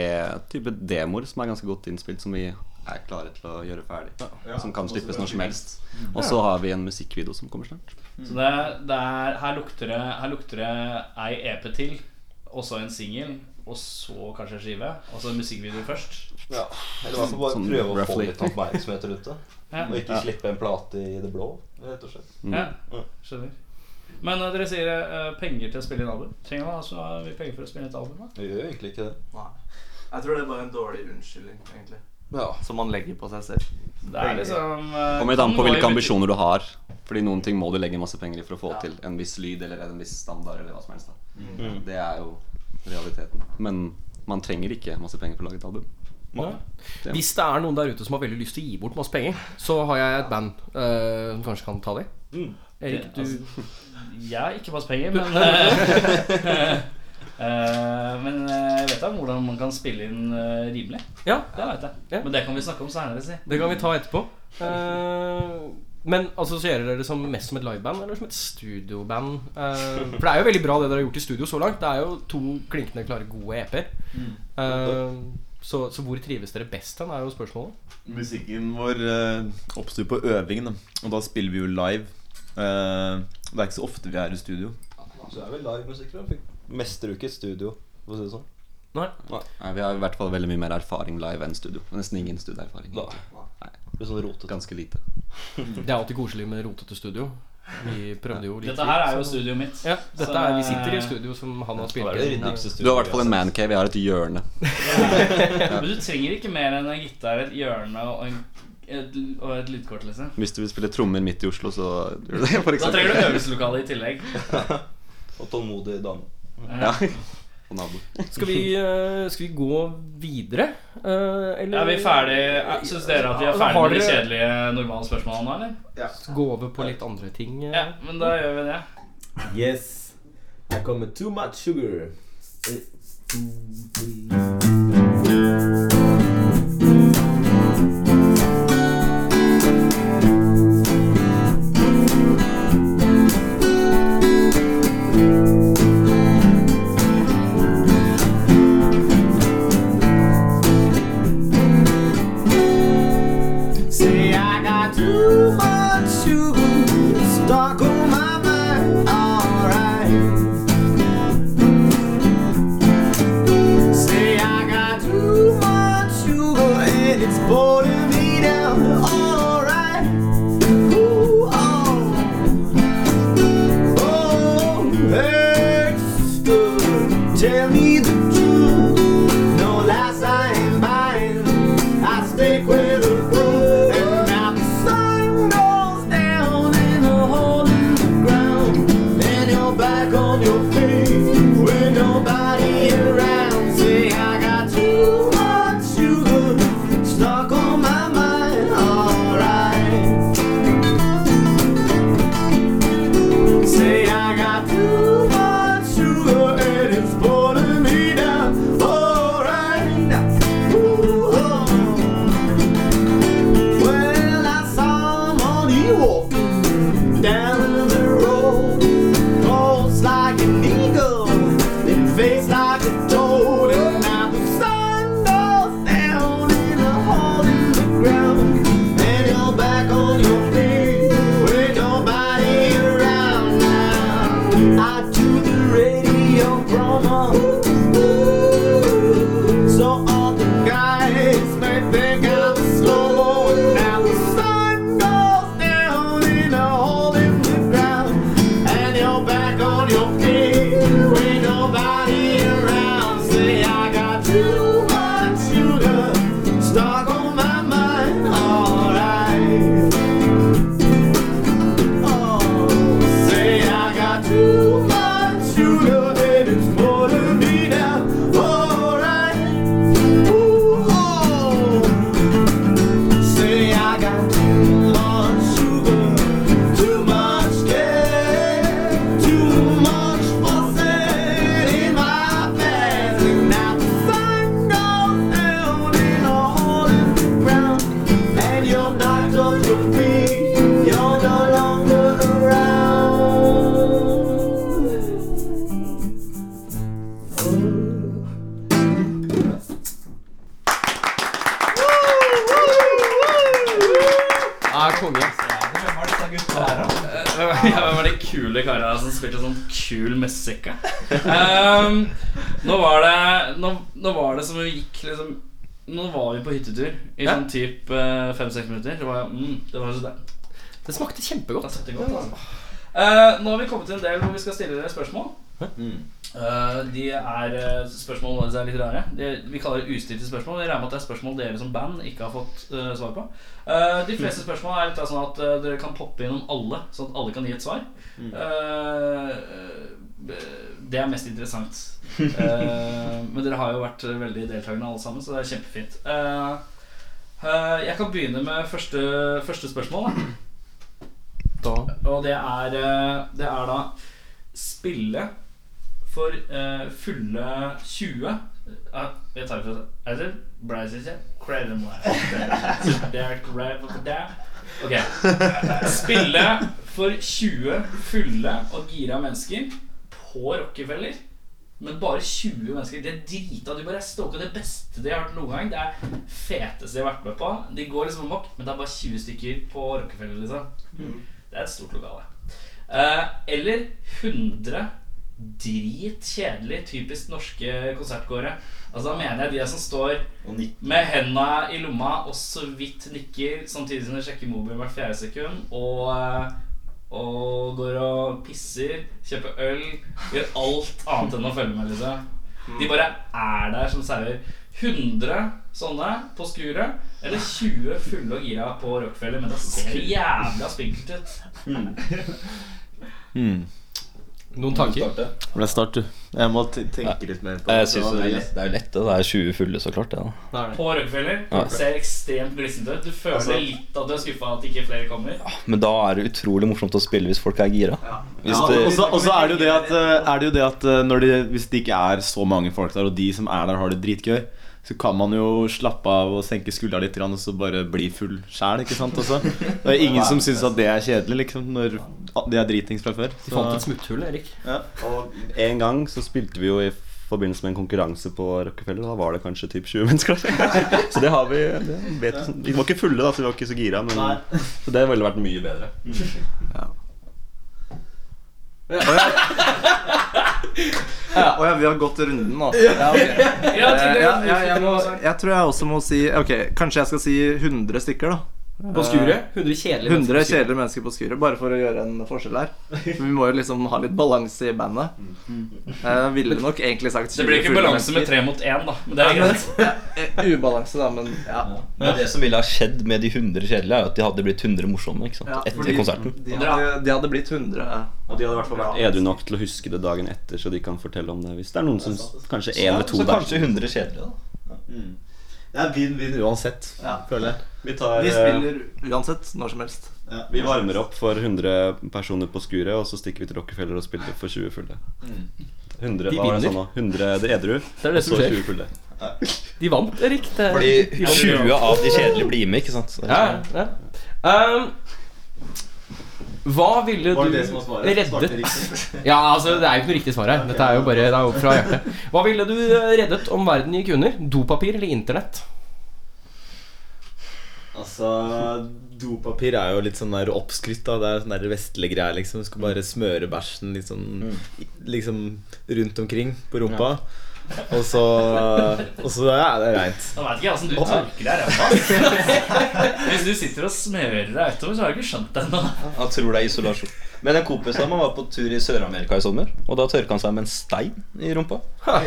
typer demoer som er ganske godt innspilt, som vi er klare til å gjøre ferdig. Som kan slippes når som helst. Og så har vi en musikkvideo som kommer snart.
Så det, det er, her, lukter det, her lukter det ei EP til, og så en singel, og så kanskje en skive. Og så en musikkvideo først.
Ja. Eller i hvert fall bare
Sånn
prøve å få
roughly.
litt oppmerksomhet rundt det.
Ja.
Og ikke slippe en plate i det blå, rett og slett.
Mm.
Ja, skjønner. Men eh, dere sier eh, penger til å spille inn album. Trenger man altså vi penger for å spille inn et album? da?
Vi gjør jo egentlig ikke det.
Nei. Jeg tror det er bare en dårlig unnskyldning, egentlig.
Ja.
Som man legger på seg selv.
Det er liksom eh,
Kommer litt
kan gå
an på
i
hvilke
butikk-
ambisjoner du har. Fordi noen ting må du legge masse penger i for å få til en viss lyd eller en viss standard. eller hva som helst da.
Mm.
Det er jo realiteten. Men man trenger ikke masse penger for å lage et album.
Hvis det er noen der ute som har veldig lyst til å gi bort masse penger, så har jeg et band eh, som kanskje kan ta det.
Mm.
Erik, du
Altså, Jeg har ikke masse penger, men eh, Eh, men eh, jeg vet da hvordan man kan spille inn eh, rimelig.
Ja,
Det vet jeg.
Ja.
Men det kan vi snakke om senere. Si.
det kan vi ta etterpå. Eh, men assosierer dere det som mest som et liveband eller som et studioband? Eh, for det er jo veldig bra det dere har gjort i studio så langt. Det er jo to klinkende klare, gode EP-er.
Mm.
Eh, så, så hvor trives dere best hen, er jo spørsmålet.
Musikken vår uh, oppstår på øvingen, da. og da spiller vi jo live. Eh, det er ikke så ofte vi er i studio.
Så er vel livemusikere. Fikk mestrer jo ikke et studio, for å si det sånn.
Nei, vi har i hvert fall veldig mye mer erfaring live enn studio. Nesten ingen studioerfaring.
Da. Det blir sånn rotete.
Ganske lite.
Det er alltid koselig med rotete studio. Vi prøvde jo litt
Dette her er jo
så-
studioet mitt.
ja, dette er, Vi sitter i
Så, eh,
studio som han har
Det
spilt
er det
i.
ryddigste
Du har i
studioet
hvert fall en mancave. Jeg har et hjørne.
Men du trenger ikke mer enn en gitar, et hjørne og, en, et, og et lydkort. liksom
Hvis du vil spille trommer midt i Oslo, så gjør du det. For
Da
eksempel.
trenger du øvelseslokale i tillegg.
Og tålmodig dame.
Ja. Og nabo.
Skal vi, eh, skal vi gå videre? eh, eller
Er vi ferdig? Syns dere at vi er
Altså,
ferdig
har
med de
dere-
kjedelige normale spørsmålene nå, eller?
Gå over på litt andre ting. eh?
Ja, men da gjør vi det.
Yes. Her kommer Too Much Sugar.
Say I got too much sugar stuck on my mind. Alright. Say I got too much sugar and it's boiling me down. Alright. Ooh, oh. Oh, hurts good. Tell me the truth. No lies I am buying. I stick with the groove, and now the sun goes down and a hole in the ground, and you're back on your feet with nobody around. Say I got too much sugar stuck on my mind. Alright. Say I got too much sugar and it's pulling me down. Alright. Well, I saw money walking down the road, pulse like an eagle and face like a toad. And now the sun goes down in a hole in the ground, and you're back on your feet with nobody around now. I do the radio promo, so all the guys may think I'm slow. And now the sun goes down in a hole in the ground, and you're back on your feet with nobody around. Say I got too much sugar stuck on my mind. Alright. Oh, say I got too much sugar and it's pulling me down. Alright. Ooh, oh. Say I got too much sugar, too much care, too much fussing in my pants. And now the sun goes down in a hole in the ground, and you're knocked off your feet. You're no longer around.
Ja, konge.
Ja, Hvem var de kule karene som spilte sånn kul musikk? ja? Um, nå, var det, nå, nå var det som vi gikk liksom Nå var vi på hyttetur i sånn typ eh, fem-seks minutter. Det var, mm, det var så deilig.
Det smakte kjempegodt.
Da setter vi godt, altså. Eh, nå har vi kommet til en del hvor vi skal stille dere spørsmål. Eh, de er eh, Spørsmål våre er litt rare. De, vi kaller det ustilte spørsmål. Jeg regner med at det er spørsmål dere som band ikke har fått eh, svar på. Eh, de fleste spørsmål er litt av sånn at eh, dere kan poppe innom alle, sånn at alle kan gi et svar. Eh, eh, det er mest interessant. Eh, men dere har jo vært veldig deltakende alle sammen, så det er kjempefint. Eh, eh, jeg kan begynne med første, første spørsmål. Da.
Da
Og det er, eh, det er da spille for eh, fulle 20 ja, Jeg tar det for Er det Brazil? Ok. Spille for 20 fulle og gira mennesker på Rockefeller. Men bare 20 mennesker. De er drita. De bare er stoka. Det beste de har hørt noen gang. Det er feteste de har vært med på. De går liksom amok, men det er bare 20 stykker på Rockefeller, liksom. Det er et stort lokale. Eh, eller 100 dritkjedelige, typisk norske konsertgåere. Altså Da mener jeg de som står med henda i lomma og så vidt nikker, samtidig som de sjekker mobilen hvert fjerde sekund, og, eh, og går og pisser, kjøper øl, gjør alt annet enn å følge med, liksom. De bare er der som sauer. 100 sånne på skuret, eller 20 fulle og gira på Rockefeller, men det ser jævla spinkelt ut.
Hmm.
Noen tanker?
Men det er snart, du. Jeg må te- tenke litt mer på det.
Jeg synes det, er lett- det er jo lett, det. Det er 20 fulle, så klart. Det, da.
på Rockefeller. Ser ekstremt glissent ut. Du føler litt at du er skuffa at ikke flere kommer.
Men da er det utrolig morsomt å spille hvis folk er gira. Hvis
Ja, og
det,
så og så er det jo det at, eh, er det jo det at eh, når det, hvis det ikke er så mange folk der, og de som er der, har det dritgøy, så kan man jo slappe av og senke skuldra litt grann, og så bare bli full sjæl. ikke sant, også? Det er ingen som syns at det er kjedelig, liksom, når de er dritings fra før.
Du fant et smutthull, Erik.
Og en gang så spilte vi jo i forbindelse med en konkurranse på Rockefeller. Da var det kanskje typ 20 mennesker der. Så det har vi det vet, vi- Vi var ikke fulle, da, så vi var ikke så gira. Men, så det ville vært mye bedre.
Mm.
Å ja, vi har gått runden nå. Ja, ok.
Ja,
Eh,
til det,
ja, ja, jeg,
du
må,
fikk noe
jeg tror jeg også må si Ok, Kanskje jeg skal si 100 stykker, da.
På
Eh,
skuret. 100 kjedelige
100
mennesker.
kjedelige mennesker på skuret, bare for å gjøre en forskjell her. For Vi må jo liksom ha litt balanse i bandet.
Mm.
Jeg ville nok egentlig sagt
Det blir ikke
20
balanse med
mennesker.
tre mot én, da. Men det er greit.
Ja, eh, Ubalanse, da, men ja.
men det som ville ha skjedd med de 100 kjedelige, er jo at de hadde blitt 100 morsomme ikke sant?
Ja,
etter
fordi-
konserten.
De hadde, de hadde blitt 100.
Og de hadde i hvert fall vært edru nok til å huske det dagen etter, så de kan fortelle om det hvis det er noen som Kanskje én eller to
så
der.
kanskje 100 kjedelige, da.
Det er vinn-vinn uansett,
Ja.
føler jeg.
Vi, tar,
Vi
eh,
spiller uansett når som helst.
vi varmer opp for 100 personer på skuret, og så stikker vi til Rockefeller og spiller for 20 fulle.
Mm.
100, hva var det jeg sa nå? 100 det edru,
er det
og
som
så
skjer.
20 fulle.
De vant, Erik. Det...
Fordi 20 av de kjedelige blir med, ikke sant? Så det er
Ja, ja. Um, hva ville
Var det
du
det som var svaret? Svarte
reddet Ja, altså, det er jo ikke noe riktig svar her. Dette er jo bare det er jo fra hjertet. Hva ville du eh, reddet om verden gikk under? Dopapir eller Internett?
Altså, dopapir er jo litt sånn der oppskrytt, da. Det er sånn der vestlige greier, liksom. Du skal bare smøre bæsjen litt
Mm.
sånn liksom rundt omkring på rumpa. Og så Og så ja, det er reint.
Jeg vet ikke åssen du tørker deg ræva. Hvis du sitter og smører deg utover, så har du ikke skjønt det ennå.
sånn. Han tror det er isolasjon. Men en kompis av meg var på tur i Sør-Amerika i sommer, og da tørka han seg med en stein i rumpa.
Ja,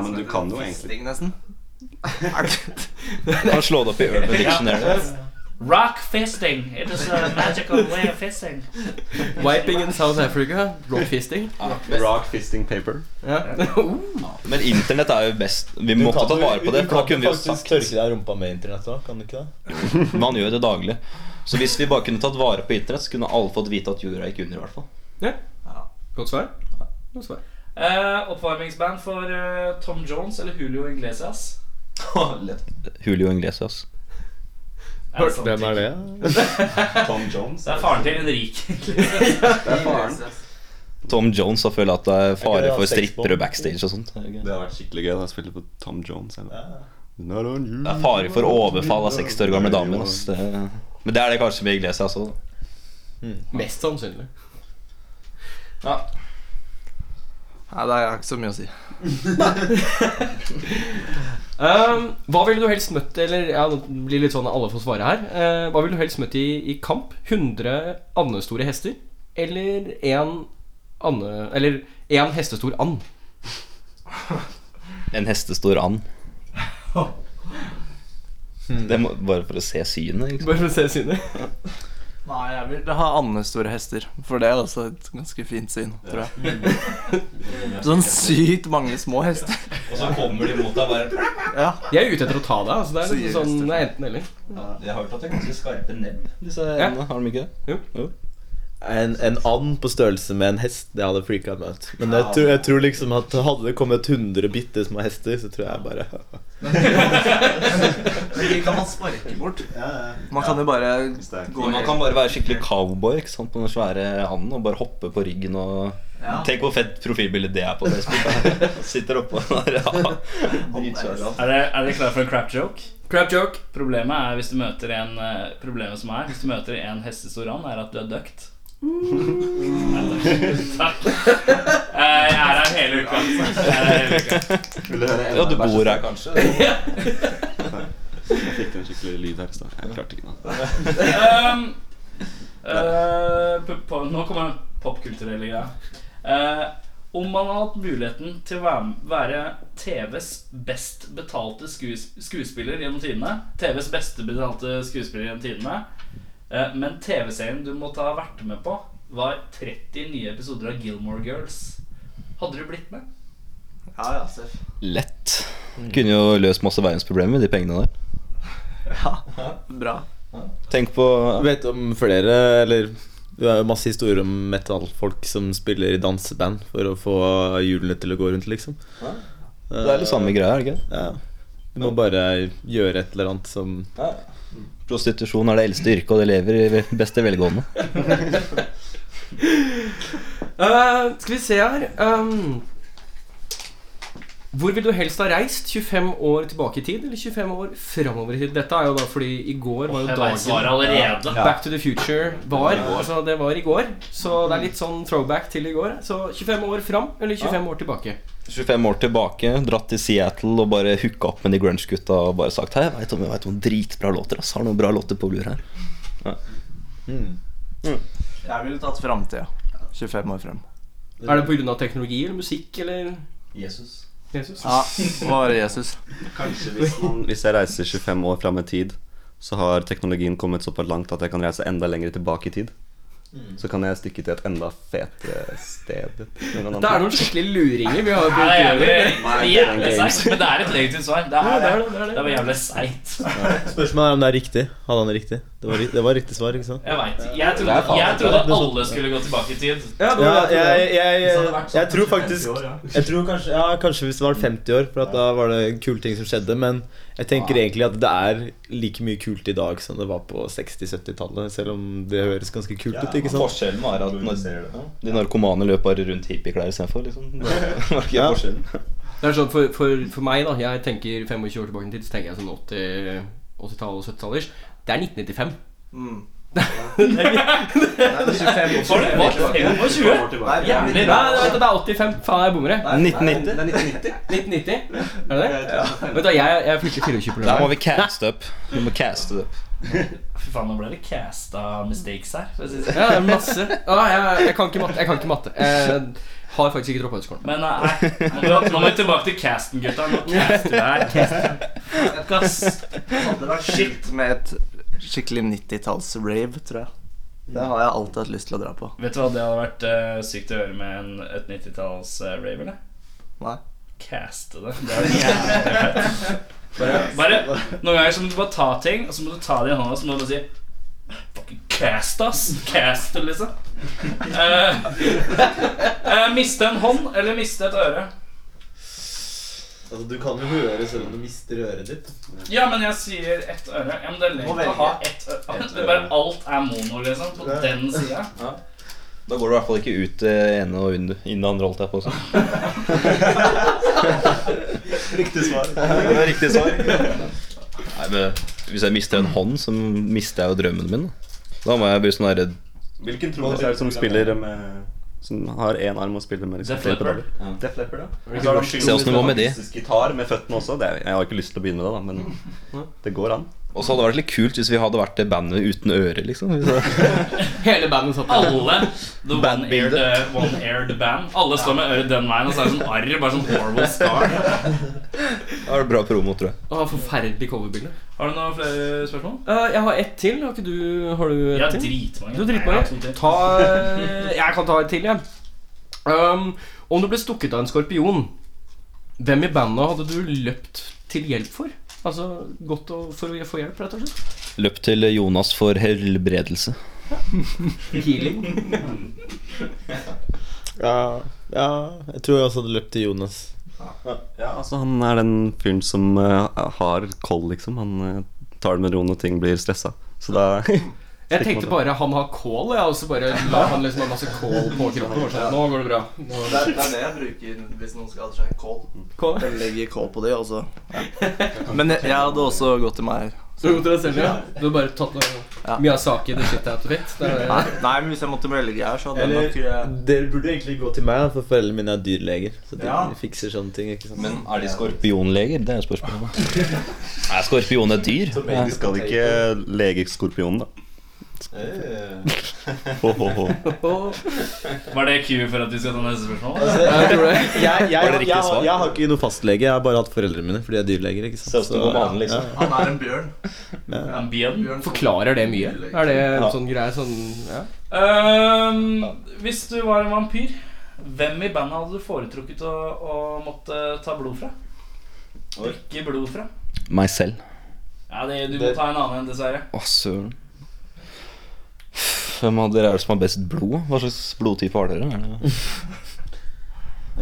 men du kan jo egentlig.
nesten.
Han slå det opp i Urban Dictionary.
Rock fisting. It is a magical way of fisting.
Wiping in South Africa. Rockfisting.
Rock fisting paper.
Men internett er jo best. Vi måtte ta vare på det, for da kunne vi jo sagt
tørke deg i rumpa med internett òg, kan du ikke det?
Men han gjør det daglig. Så hvis vi bare kunne tatt vare på internett, så kunne alle fått vite at jorda gikk under, i hvert fall.
Godt svar. Godt svar.
Eh, oppvarmingsband for eh, Tom Jones eller Julio Iglesias.
Julio Inglesias.
Er det, sant?
Hvem er det?
Tom Jones.
det er faren til Henrik.
Tom Jones har følt at det er
det
fare
han
for
sex på?
strippere backstage og sånt.
Det har vært skikkelig gøy å spille på Tom Jones. Eller? Not on you.
Det er fare for overfall av 60 år gamle damer. ass. Det- Men det er det kanskje med Iglesias også. da.
Mest sannsynlig.
Nei, det har ikke så mye å si.
Um, hva ville du helst møtt Eller ja, det blir litt sånn at alle får svare her. Eh, hva ville du helst møtt i, i kamp? 100 andestore hester? Eller én ande... Eller én hestestor and?
En hestestor and. Det må, bare for å se synet. Ikke? sant?
Bare for å se synet.
Nei, jeg vil ha andestore hester, for det er også et ganske fint syn, tror jeg. Sånn sykt mange små hester.
Og så kommer de mot deg bare
De er ute etter å ta deg. Altså, det er
Så
liksom
gir
sånn det er enten eller.
De har hørt at det er ganske skarpe nebb, disse
Ja.
endene. Har de ikke det?
en, en and på størrelse med en hest, det hadde freaka meg ut. Men jeg tror, jeg tror liksom at hadde det kommet 100 bitte små hester, så tror jeg bare
De kan man sparke bort.
Man kan jo bare
Men Man kan bare være skikkelig cowboy ikke sant? på den svære anden og bare hoppe på ryggen og
Ja.
Tenk hvor fett profilbilde det er på Facebook. Sitter oppå den der. Ja. Dritsvære.
Er dere, er dere klare for en crap joke? Crap joke Problemet er hvis du møter en eh, Problemet som er Hvis du møter en hestestor and, er at du er døkt. Mm. Takk. Eh, Jeg er her hele uka. Jeg er her hele uka.
Vil du høre
ja, du bor her kanskje?
Jeg fikk en skikkelig lyd her i stad. Jeg klarte ikke noe.
Um, eh, pu- på- nå kommer den popkulturelle greia. Eh, om man hadde hatt muligheten til å være, være TVs best betalte skues, skuespiller gjennom tidene TVs beste betalte skuespiller gjennom tidene eh, Men TV-serien du måtte ha vært med på, var 30 nye episoder av Gilmore Girls. Hadde du blitt med?
Ja, ja, Seff.
Lett. Kunne jo løst masse verdensproblemer med de pengene der.
Bra.
Tenk på
Jeg vet om flere, eller det er jo masse historier om metallfolk som spiller i danseband for å få hjulene til å gå rundt, liksom.
Det er litt samme greia, er det ikke? det?
Ja. Du må bare gjøre et eller annet som
Prostitusjon er det eldste yrket, og det lever i beste velgående.
Eh, skal vi se her ehm, Hvor vil du helst ha reist? 25 år tilbake i tid, eller 25 år framover i tid? Dette er jo da fordi i går var jo
Jeg vet
dagen
svaret allerede.
Back to the future var. Altså, det var i går. Så det er litt sånn throwback til i går. Så 25 år fram, eller 25 år tilbake.
25 år tilbake, dratt til Seattle og bare hooka opp med de grunge-gutta og bare sagt Hei, jeg veit om, jeg vet om dritbra låter, ass. Har noen bra låter på blur her.
Jeg ville tatt framtida. 25 år frem.
Er det pga. teknologi eller musikk eller
Jesus.
Jesus?
Ja, bare Jesus.
Kanskje hvis, man, hvis jeg reiser 25 år fram i tid, så har teknologien kommet såpass langt at jeg kan reise enda lenger tilbake i tid.
Mm.
Så kan jeg stikke til et enda fetere sted.
Det er noen skikkelige luringer vi har
Nei, det er
brukt.
jævlig- jævlig seigt, men det er et legitimt svar. Det
Ja,
er
det er
det.
det, det er det.
Det var jævlig seigt.
Spørsmålet er om det er riktig. Hadde han riktig? Det var, ri- det var riktig svar, ikke sant?
Jeg vet. Jeg trodde, jeg trodde alle skulle gå tilbake i tid.
Ja, det
Ja,
var det
jeg, jeg,
Hvis det
jeg,
hadde vært sånn
jeg tror
50
faktisk
år, ja.
Jeg tror kanskje, ja, kanskje hvis det var 50 år, for at da var det kule ting som skjedde. Men jeg tenker egentlig at det er like mye kult i dag som det var på 60-70-tallet. Selv om det høres ganske kult ut. ikke sant?
Forskjellen var at når, de narkomane løp bare rundt hippieklær istedenfor. Liksom. Det var ikke
Ja.
forskjellen.
Det er sånn for, for, for meg, da. Jeg tenker 25 år tilbake i tid, så tenker jeg sånn 80 80-tallet og 70-tallers. Det er 1995.
Mm.
Var det var det 25?
Nei, det er
Nei,
Jævlig
litt-
det er, det er 85. Faen, jeg bommer. jeg.
Nei,
1990.
Det er 1990.
1990? Er det det? Vet du, hva, jeg, jeg fylte 24 på
Der må
lørdag.
vi caste opp. Vi må caste det opp.
Fy faen, nå ble det casta mistakes her. for å si det. sånn.
Ja, det er masse. Ah, Ja, jeg, jeg kan ikke matte. Jeg kan ikke matte. Jeg har faktisk ikke droppa ut skolen.
Men eh, nei, nå må- nå må vi tilbake til casten, gutta. Nå caster vi her. Cast. Gass.
Hadde vært shit.
Shit med et skikkelig 90-talls-rave, tror jeg. Det har jeg alltid hatt lyst til å dra på.
Vet du hva det hadde vært eh, sykt å gjøre med en, et 90-talls eh, rave, eller?
Nei.
Caste det. Det er jævlig fett. Bare, bare Noen ganger så må du bare ta ting, og så må du ta det i hånda, og så må du bare si Fucking cast, ass. Cast, liksom. Eh, eh, miste en hånd, eller miste et øre.
Altså, du kan jo høre selv om du mister øret ditt.
Ja, men jeg sier ett øre. Ja, men det er
Må
lett
velge.
å ha ett øre. Det er bare alt er mono, liksom. På den sida.
Da går du i hvert fall ikke ut det ene og inn inn det andre, holdt jeg på å si.
Riktig svar.
Det er riktig svar. Nei, men Hvis jeg mister en hånd, så mister jeg jo drømmen min. Da, da må jeg bli sånn herre
Hvilken trommis er det som spiller med Som har én arm og spiller med liksom
Def Leppard.
Def Leppard, ja.
Se åssen det går med de.
Gitar med føttene også. Det er, jeg har ikke lyst til å begynne med det, da, men det går an.
Og så hadde det vært litt kult hvis vi hadde vært det bandet uten øre, liksom. Hvis det-
Hele bandet satt der.
Alle the one-aired uh, one band. Alle står med øret den veien, og så er det sånn arr. Bare sånn horrible scar.
Da er det bra promo, tror jeg.
Å, forferdelig coverbilde.
Har du noen flere spørsmål?
Eh, jeg har ett til. Har ikke du Har du
Jeg
ett
har
til?
dritmange.
Du har
Nei, jeg har to
dritmange.
til.
Ta eh, Jeg kan ta et til, jeg. Ehm, om du ble stukket av en skorpion, hvem i bandet hadde du løpt til hjelp for? Altså gått og, for å få hjelp, rett og slett?
Løp til Jonas for helbredelse.
Healing.
Ja, ja, jeg tror jeg også hadde løpt til Jonas.
Ja, altså Han er den fyren som eh, har koll, liksom. Han eh, tar det med ro når ting blir stressa. Så da
Jeg tenkte bare han har kål, jeg, og så bare la han liksom ha masse kål på kroppen. og sånn, Nå går det bra. Nå-
Det er det er det jeg bruker hvis noen skal ha seg en kål.
Kål?
Jeg legger kål på det også. Men jeg, jeg hadde også gått til meg.
Så god til deg selv, ja. Du har bare tatt noe
Ja.
Miyazaki the shit out of it. Det
Nei,
er,
nei, men hvis jeg måtte velge her, så hadde
Eller-
jeg nok eh,
Dere burde egentlig gå til meg, da, for foreldrene mine er dyrleger. Så de
Ja.
fikser sånne ting. ikke sant?
Men er de skorpionleger? Det er jo spørsmålet. Er skorpion et dyr?
Du skal ikke lege skorpionen, da. Ho, ho, ho.
Var det cue for at vi skal ta neste spørsmål?
jeg tror det.
jeg, jeg, jeg,
riktig
jeg,
svar?
har ikke noe fastlege. Jeg har bare hatt foreldrene mine, for de er dyrleger. ikke sant?
Ser ut som
Så-
på banen, liksom.
ja.
Han er en bjørn.
En bjørn?
bjørn
Forklarer det mye? Er det en sånn greie sånn ja.
Øhm, Ehm, hvis du var en vampyr, hvem i bandet hadde du foretrukket å, å måtte ta blod fra? Drikke blod fra?
Meg selv.
Ja, det, Du må ta en annen en, dessverre.
Å, søren. Hvem av dere er det som har best blod? Hva slags blodtype har dere? Er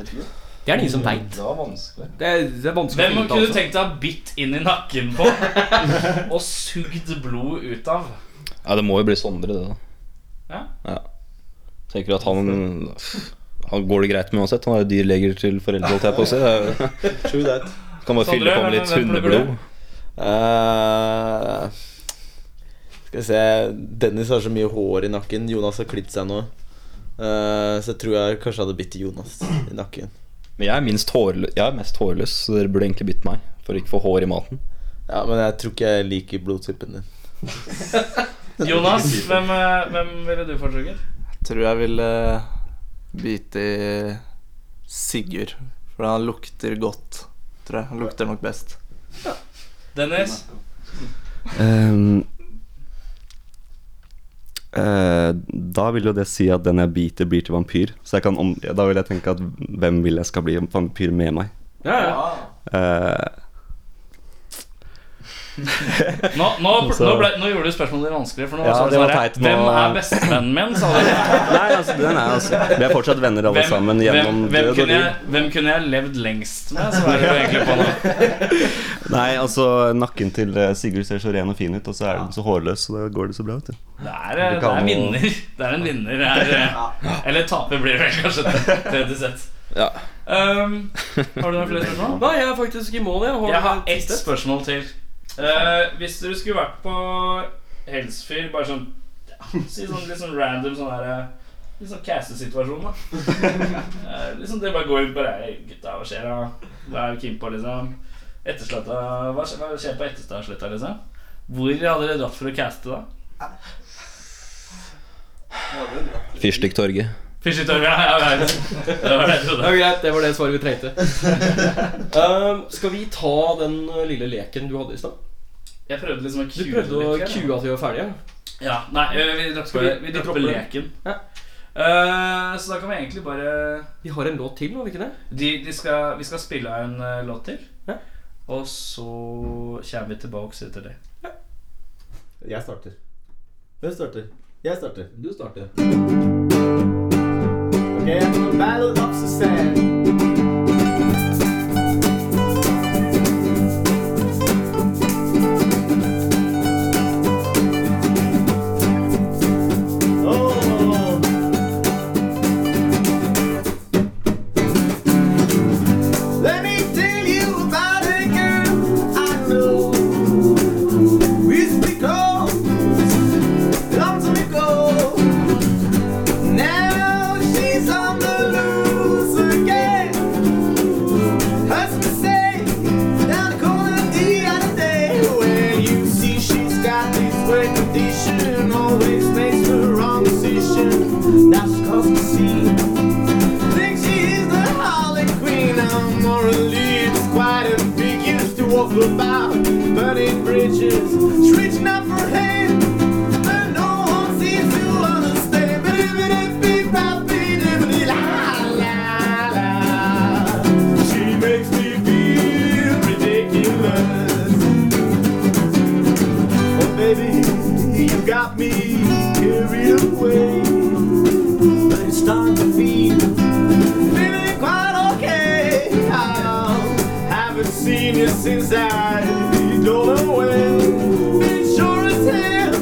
det-
Det er det ingen som veit.
Det var vanskelig.
Det, er- det er vanskelig
Hvem
å finne
kunne du
ut altså. av.
tenkt deg å ha bitt inn i nakken på og sugd blod ut av?
Ja, det må jo bli Sondre, det, da.
Ja.
Tenker at han Han går det greit med uansett. Han er jo dyrleger til foreldre, holdt jeg på å si. Det er-
True that.
Kan bare fylle på med
Sondre, hvem-
litt
hvem plukker du?
hundeblod.
Eh, skal vi se Dennis har så mye hår i nakken. Jonas har klippet seg nå. Eh, så jeg tror jeg kanskje hadde bitt Jonas i nakken.
Men jeg er, minst hårløs, jeg er mest hårløs, så dere burde egentlig bytte meg. For å ikke få hår i maten.
Ja, Men jeg tror ikke jeg liker blodtypen din.
Jonas, hvem, eh, hvem ville du foretrukket?
tror jeg ville bite i Sigurd. For han lukter godt, tror jeg. Han lukter nok best.
Dennis?
Ehm, eh, da vil jo det si at den jeg biter, blir til vampyr. Så jeg kan om, ja, da vil jeg tenke at hvem vil jeg skal bli vampyr med meg?
Ja, ja.
Eh,
Nå, nå,
Altså-
nå, ble, nå gjorde du spørsmålet litt vanskeligere. For nå
Ja,
var
det var
svaret,
teit. Nå-
Hvem er bestevennen min? sa du.
nei, altså, den er altså Vi er fortsatt venner alle sammen gjennom
hvem, hvem,
død og
kunne
liv.
jeg, hvem kunne jeg levd lengst med? Svarer du egentlig på nå.
Nei, altså, nakken til eh, Sigurd ser så ren og fin ut, og så er den så hårløs, så da går det så bra, vet du.
Det er, eh, det er vinner. Det er en vinner. Her. eh. Eller taper blir det vel kanskje. det, Tredje sett.
Ja.
Um, har du noen flere spørsmål?
Nei, jeg er faktisk i mål, jeg. Har-
Jeg har ett spørsmål til. Eh, hvis dere skulle vært på Helsfyr, bare sånn ja, Si sånn litt sånn random sånn her eh, Litt sånn casse-situasjon, da. Eh, liksom det bare går ut bare «Hei, Gutta, hva skjer, da? Hva er Kim på, liksom? Ettersletta Hva skjer, hva skjer på Etterstadsletta, liksom? Hvor hadde dere dratt for å caste, da?
Fyrstikktorget.
Fishitørv, ja. Jeg vet. Det var det jeg
Ja,
trodde.
greit, det var det svaret vi trengte. Ehm, skal vi ta den eh, lille leken du hadde i stad?
Jeg prøvde liksom å
Du
kue
prøvde å
litt,
kue at vi var ferdige.
Ja, nei, eh, vi dropper,
Skal vi-
vi
vi
dropper
dropper det?
leken.
Ja.
Eh, så da kan vi egentlig bare
Vi har en låt til, må vi ikke det?
De, de skal, vi skal spille en eh, låt til.
Ja.
Og så kommer vi tilbake etter det.
Jeg starter. Hvem starter? Jeg starter.
Du starter.
Okay, the ballad of Suzanne. Oh. Let me tell you about a girl I know. We speak long time ago. Now she's on the loose again. Husband say down the corner the other day. Well, you see she's got this great condition, always makes the wrong decision. That's cause to see. Think she is the Harley Queen. I'm morally it's quite ambiguous to walk about burning bridges. She's reaching out for him. But no one seems to understand. Bidi-bidi-bidi-bidi, la, la, la. She makes me feel ridiculous. Oh, baby, you got me. Here carried away. But it's starting to feel feeling quite okay. I haven't seen you since I don't know when. Been sure as hell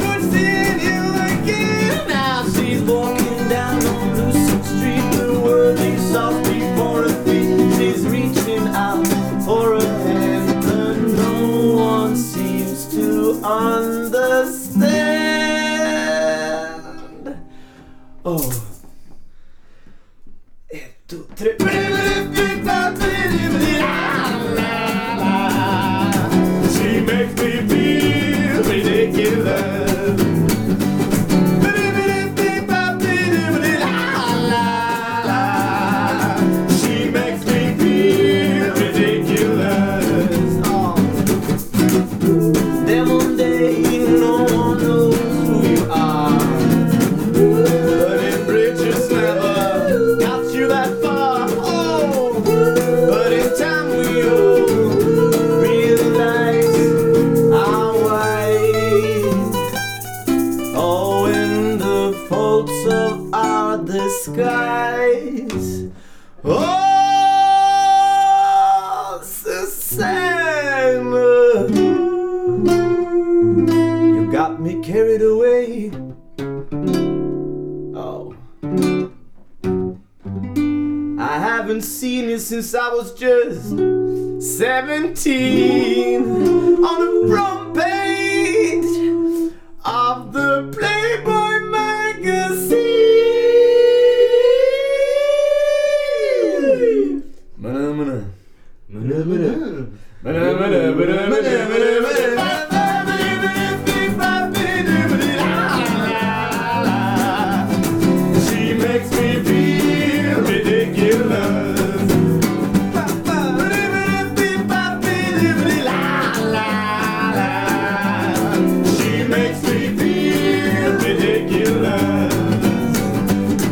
good seeing you again. Now she's walking down on Lucid Street, the worthy soft before her feet. She's reaching out for a hand that no one seems to understand. Oh. She makes me feel ridiculous. She makes me feel ridiculous. Then one day no one knows who you are. But if riches never got you that far, oh, but in time we all realize our ways. Oh, in the faults of our disguise. Oh, Susanna, you got me carried away. Oh. I haven't seen you since I was just 17 on the front page of the Playboy magazine. Manamana. Manamana. Manamana, manamana, manamana. She makes me feel ridiculous. She makes me feel ridiculous.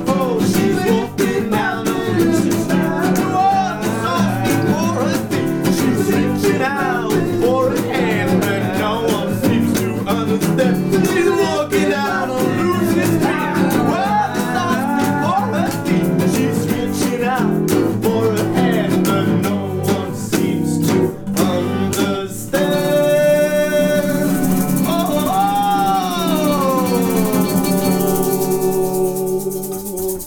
Oh, she's walking down on Lucy's side. Oh, the soft before her feet. She's reaching out for a hand, but no one seems to understand. She's walking down on Lucy's side. Oh, the soft before her feet. She's reaching out for a hand, but no one seems to understand. Oh.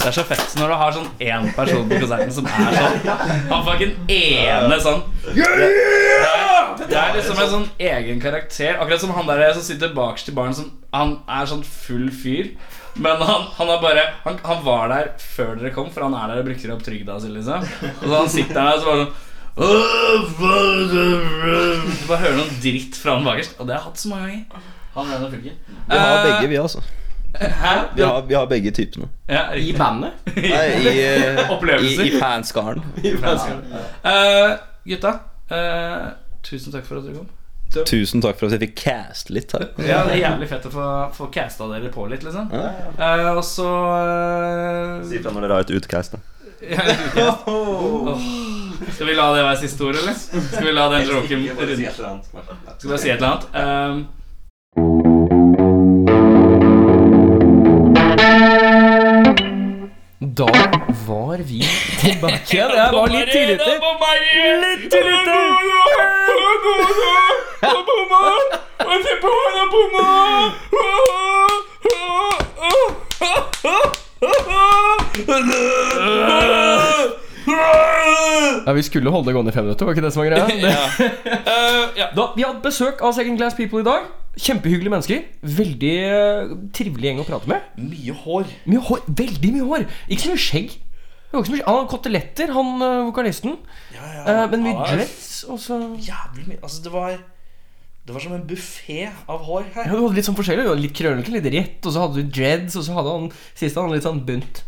Det er så fett når du har sånn én person på konserten som er sånn. Han fucking ene sånn. Det er- Det er liksom en sånn egen karakter. Akkurat som han der som sitter bakerst i baren. Som, han er sånn full fyr. Men han, han er bare han, han var der før dere kom, for han er der og brukte opp trygda si, liksom. Og så han sitter der og så bare sånn «Åh, hva- Du bare hører noen dritt fra han bakerst. Og det har jeg hatt så mange ganger. Han ene funker.
Vi har begge, vi, altså.
Hæ?
Vi har, vi har begge typene.
Ja,
I
riktig.
bandet?
Nei, i, eh,
Opplevelser.
i, i fanskaren.
Eh, gutta, eh, tusen takk for at dere kom. Eh,
Tusen takk for at jeg fikk cast litt her.
Ja, Det er jævlig fett å få, få casta dere på litt, liksom. Eh, og så eh,
Si fra når dere har et utkast. da.
ja, podcast. Åh. Skal vi la det være siste ord, eller? Skal vi la den joken runde? Skal vi bare si et eller annet? Ehm,
Da var vi tilbake. Ja, det var litt tidligere.
Litt tidligere.
Ja, Vi skulle holde det gående i fem minutter, var ikke det som var greia?
Eh,
Da, vi har hatt besøk av Second Class People i dag. Kjempehyggelige mennesker. Veldig eh, trivelig gjeng å prate med.
Mye hår.
Mye hår, Veldig mye hår! Ikke så mye skjegg. Det var ikke så mye, han har koteletter, han eh, vokalisten. Eh, men mye
Ja,
dress. Og så ja,
Jævlig mye. Altså, det var Det var som en buffé av hår her.
Du hadde litt sånn forskjellig. Du hadde litt krøllete, litt rett, og så hadde du dreads, og så hadde han siste han litt sånn bunt.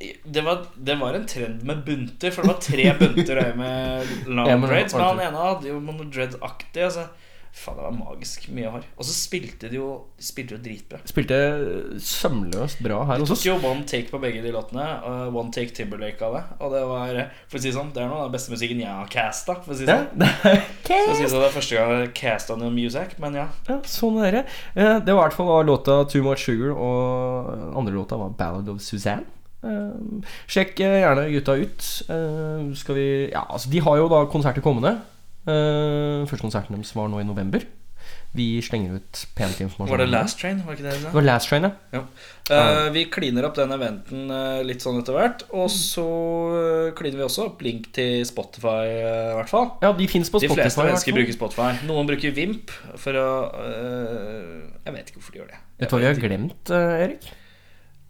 Det var, det var en trend med bunter, for det var tre bunter og en med long
Ja, men-
dreads. Men han ene hadde jo noe dread-aktig. Altså. Faen, det var magisk mye hard. Og så spilte de jo, de spilte jo dritbra.
Spilte eh, sømløst bra her
De
hos
tok
oss.
jo one take på begge de låtene. og one take Timberlake av det. Og det var for å si det sånn, det er noe av den beste musikken jeg har casta. For å si det
Ja,
sånn.
det er
Så å si det sånn, det er første gang jeg har casta noe music, men ja.
Ja, sånn er det. Eh, Det var i hvert fall da låta 'Too Much Sugar', og den andre låta var 'Ballad of Suzanne'. Eh, sjekk eh, gjerne gutta ut. Eh, skal vi Ja, altså, de har jo da konserter kommende. Eh, første konserten deres var nå i november. Vi slenger ut pent informasjon.
Var det Last Train? var det ikke det de sa?
Det var Last Train, ja. Mm.
Eh, vi kliner opp den eventen eh, litt sånn etter hvert. Og så eh, kliner vi også opp link til Spotify, eh, i hvert fall.
ja de fins på
De
Spotify.
fleste
i hvert
mennesker
fall.
bruker Spotify. Noen bruker Vimp for å eh, Jeg vet ikke hvorfor de gjør det.
Vet du hva vi har glemt, eh, Erik?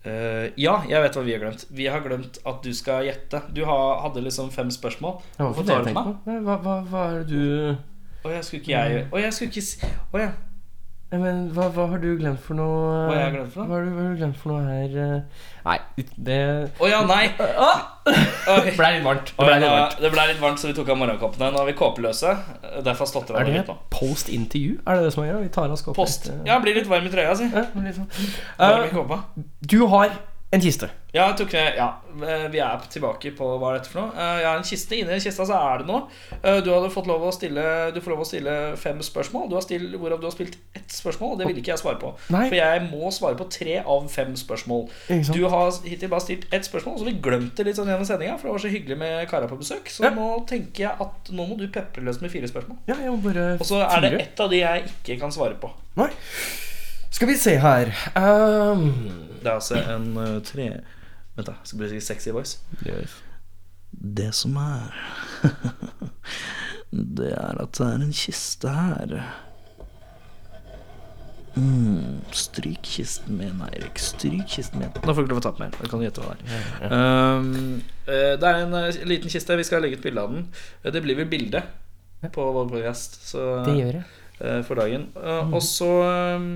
Eh, ja, jeg vet hva vi har glemt. Vi har glemt at du skal gjette. Du har, hadde liksom fem spørsmål.
Det var ikke
Hvorfor
det
tar
jeg
du til meg?
tenkte på. Hva, hva, hva er det du
Å, jeg skulle ikke jeg
Mm.
Å, jeg skulle ikke si Å ja.
Nei, Men hva, hva har du glemt for noe eh,
Hva har jeg glemt for noe?
Hva har du, hva har du glemt for noe her eh? Nei, det
Å ja, nei! Oi.
Ah! ble litt varmt.
Å, ja, det ble litt varmt, så vi tok av morgenkoppene. Nå er vi kåpeløse. Derfor stotter
Er
vi av
det
litt nå.
post intervju? Er det det som er greia? Vi tar av skåpen.
Post. Ja, blir litt varm i trøya, si.
Ja, litt sånn.
Varm i
Eh,
kåpa.
du har en kiste.
Ja, jeg tok med, ja, eh, vi er tilbake på hva er dette for noe. Eh, Jeg har en kiste. Inni den kista så er det noe. Eh, Du hadde fått lov å stille Du får lov å stille fem spørsmål, du har still, hvorav du har spilt ett spørsmål. Og det ville ikke jeg svare på.
Nei.
For jeg må svare på tre av fem spørsmål.
Ikke sant?
Du har hittil bare stilt ett spørsmål, så vi glemte det litt sånn gjennom sendinga. For det var så hyggelig med kara på besøk. Så
Ja.
nå tenker jeg at nå må du pepre løs med fire spørsmål.
Ja, jeg må bare
Og så er det
fyre.
ett av de jeg ikke kan svare på.
Nei. Skal vi se her Ehm,
Det er altså en eh, tre Vent, da. Skal bli sexy voice.
Det som er Det er at det er en kiste her. Mm, stryk kisten min, Eirik. Stryk kisten min.
Da får du ikke lov å ta på mer. Da kan du gjette hva det er. Um, eh, det er en eh, liten kiste. Vi skal legge ut bilde av den. Eh, Det blir vel bilde på vår podcast så,
Det gjør jeg.
eh, for dagen. Eh, Og så um,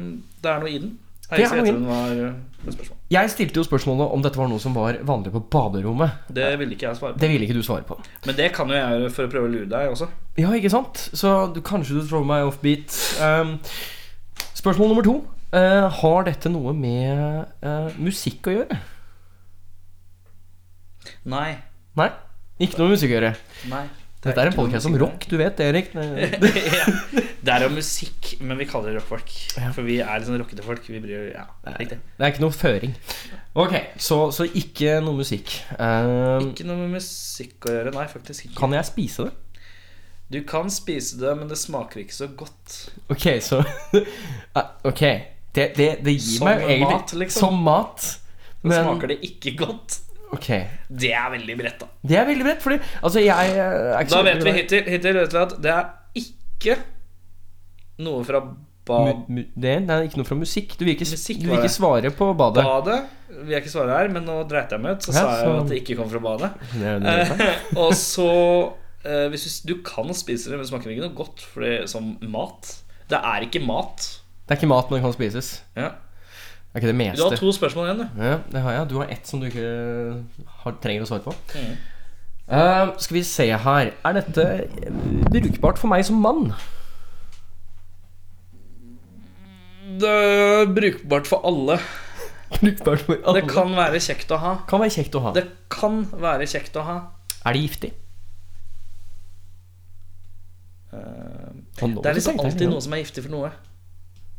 Det er noe i den.
Det
Eirik
er
skal
noe i
gjette
den.
den var eh, et spørsmål.
Jeg stilte jo spørsmålet om dette var noe som var vanlig på baderommet.
Det ville ikke jeg svare på.
Det ville ikke du svare på.
Men det kan jo jeg gjøre for å prøve å lure deg også.
Ja, ikke sant? Så du, kanskje du throw meg offbeat. Um, spørsmål nummer to. Eh, har dette noe med eh, musikk å gjøre?
Nei.
Nei. Ikke noe med musikk å gjøre.
Nei.
Dette er en podcast om rock, du vet det, Erik. Det-
Det er jo musikk, men vi kaller det rockfolk. For vi er litt sånn rockete folk. Vi bryr Ja,
Eh,
riktig.
Det er ikke noe føring. Ok, så, så ikke noe musikk. Eh,
Ikke noe med musikk å gjøre. Nei, faktisk ikke.
kan jeg spise det?
Du kan spise det, men det smaker ikke så godt.
Ok, så Ah, Ok. Det, det, det gir
Som
meg jo egentlig
mat, liksom.
Som mat.
Men...
Men
Smaker det ikke godt?
ok.
Det er veldig bredt, da.
Det er veldig bredt, fordi altså, jeg eh, er ikke
Da
så
vet vi
glad i-
hittil, hittil vet vi at det er ikke noe fra ba-
Mu- mu- Det, det er ikke noe fra musikk. Du vil ikke,
Musikk
du
var
vil ikke
det.
svare på badet.
badet. Vi er ikke svare her, men nå dreit jeg meg ut. Så
Ja,
sa jeg jo
så-
at det ikke kom fra badet.
Det er jo det.
Eh, og så eh, hvis du, s- du kan spise det, men det smaker ikke noe godt for det, som mat. Det er ikke mat.
Det er ikke mat, men det kan spises.
Ja.
Det er ikke det
Du har
meste.
to spørsmål igjen, du.
Ja, det har jeg. Du har ett som du ikke har, trenger å svare på.
Mhm.
Eh, skal vi se her Er dette brukbart for meg som mann?
Det er brukbart for alle.
Brukbart for alle.
Det kan være kjekt å ha.
kan være kjekt å ha.
Det kan være kjekt å ha.
Er det giftig?
Eh, Det er liksom alltid noe som er giftig for noe.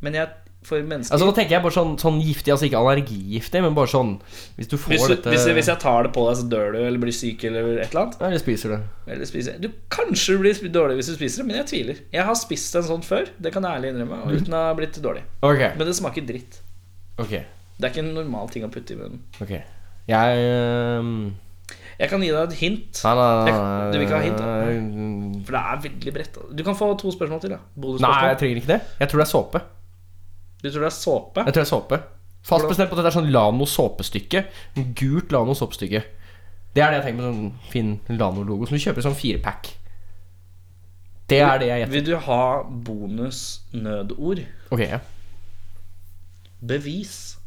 Men jeg, for mennesker
Altså Nå tenker jeg bare sånn, sånn giftig, altså ikke allergigiftig, men bare sånn Hvis du får
hvis, du,
dette
hvis, hvis jeg tar det på deg, så dør du eller blir syk eller et eller annet.
Eller spiser det.
Eller spiser Du Kanskje du blir sp- dårlig hvis du spiser det, men jeg tviler. Jeg har spist en sånn før, det kan jeg ærlig innrømme,
Mm.
og uten å ha blitt dårlig.
Ok.
Men det smaker dritt.
Ok.
Det er ikke en normal ting å putte i munnen.
ok Jeg ehm,
Jeg kan gi deg et hint,
Nei, nei,
Jeg-
nei
du vil ikke ha hint, da?
hint?
for det er veldig bredt. Du kan få to spørsmål til. da
Nei, jeg
Bonusspørsmål.
trenger ikke det. Jeg tror det er såpe.
Du tror det er såpe?
Jeg tror det er såpe Fast
Hvordan-
bestemt på at det er sånn Lano såpestykke. En Gult Lano såpestykke. Det er det jeg tenker med sånn fin Lano-logo som du kjøper i sånn firepack. Det er det jeg gjetter.
Vil du ha bonusnødord?
Ok, ja.
Bevis.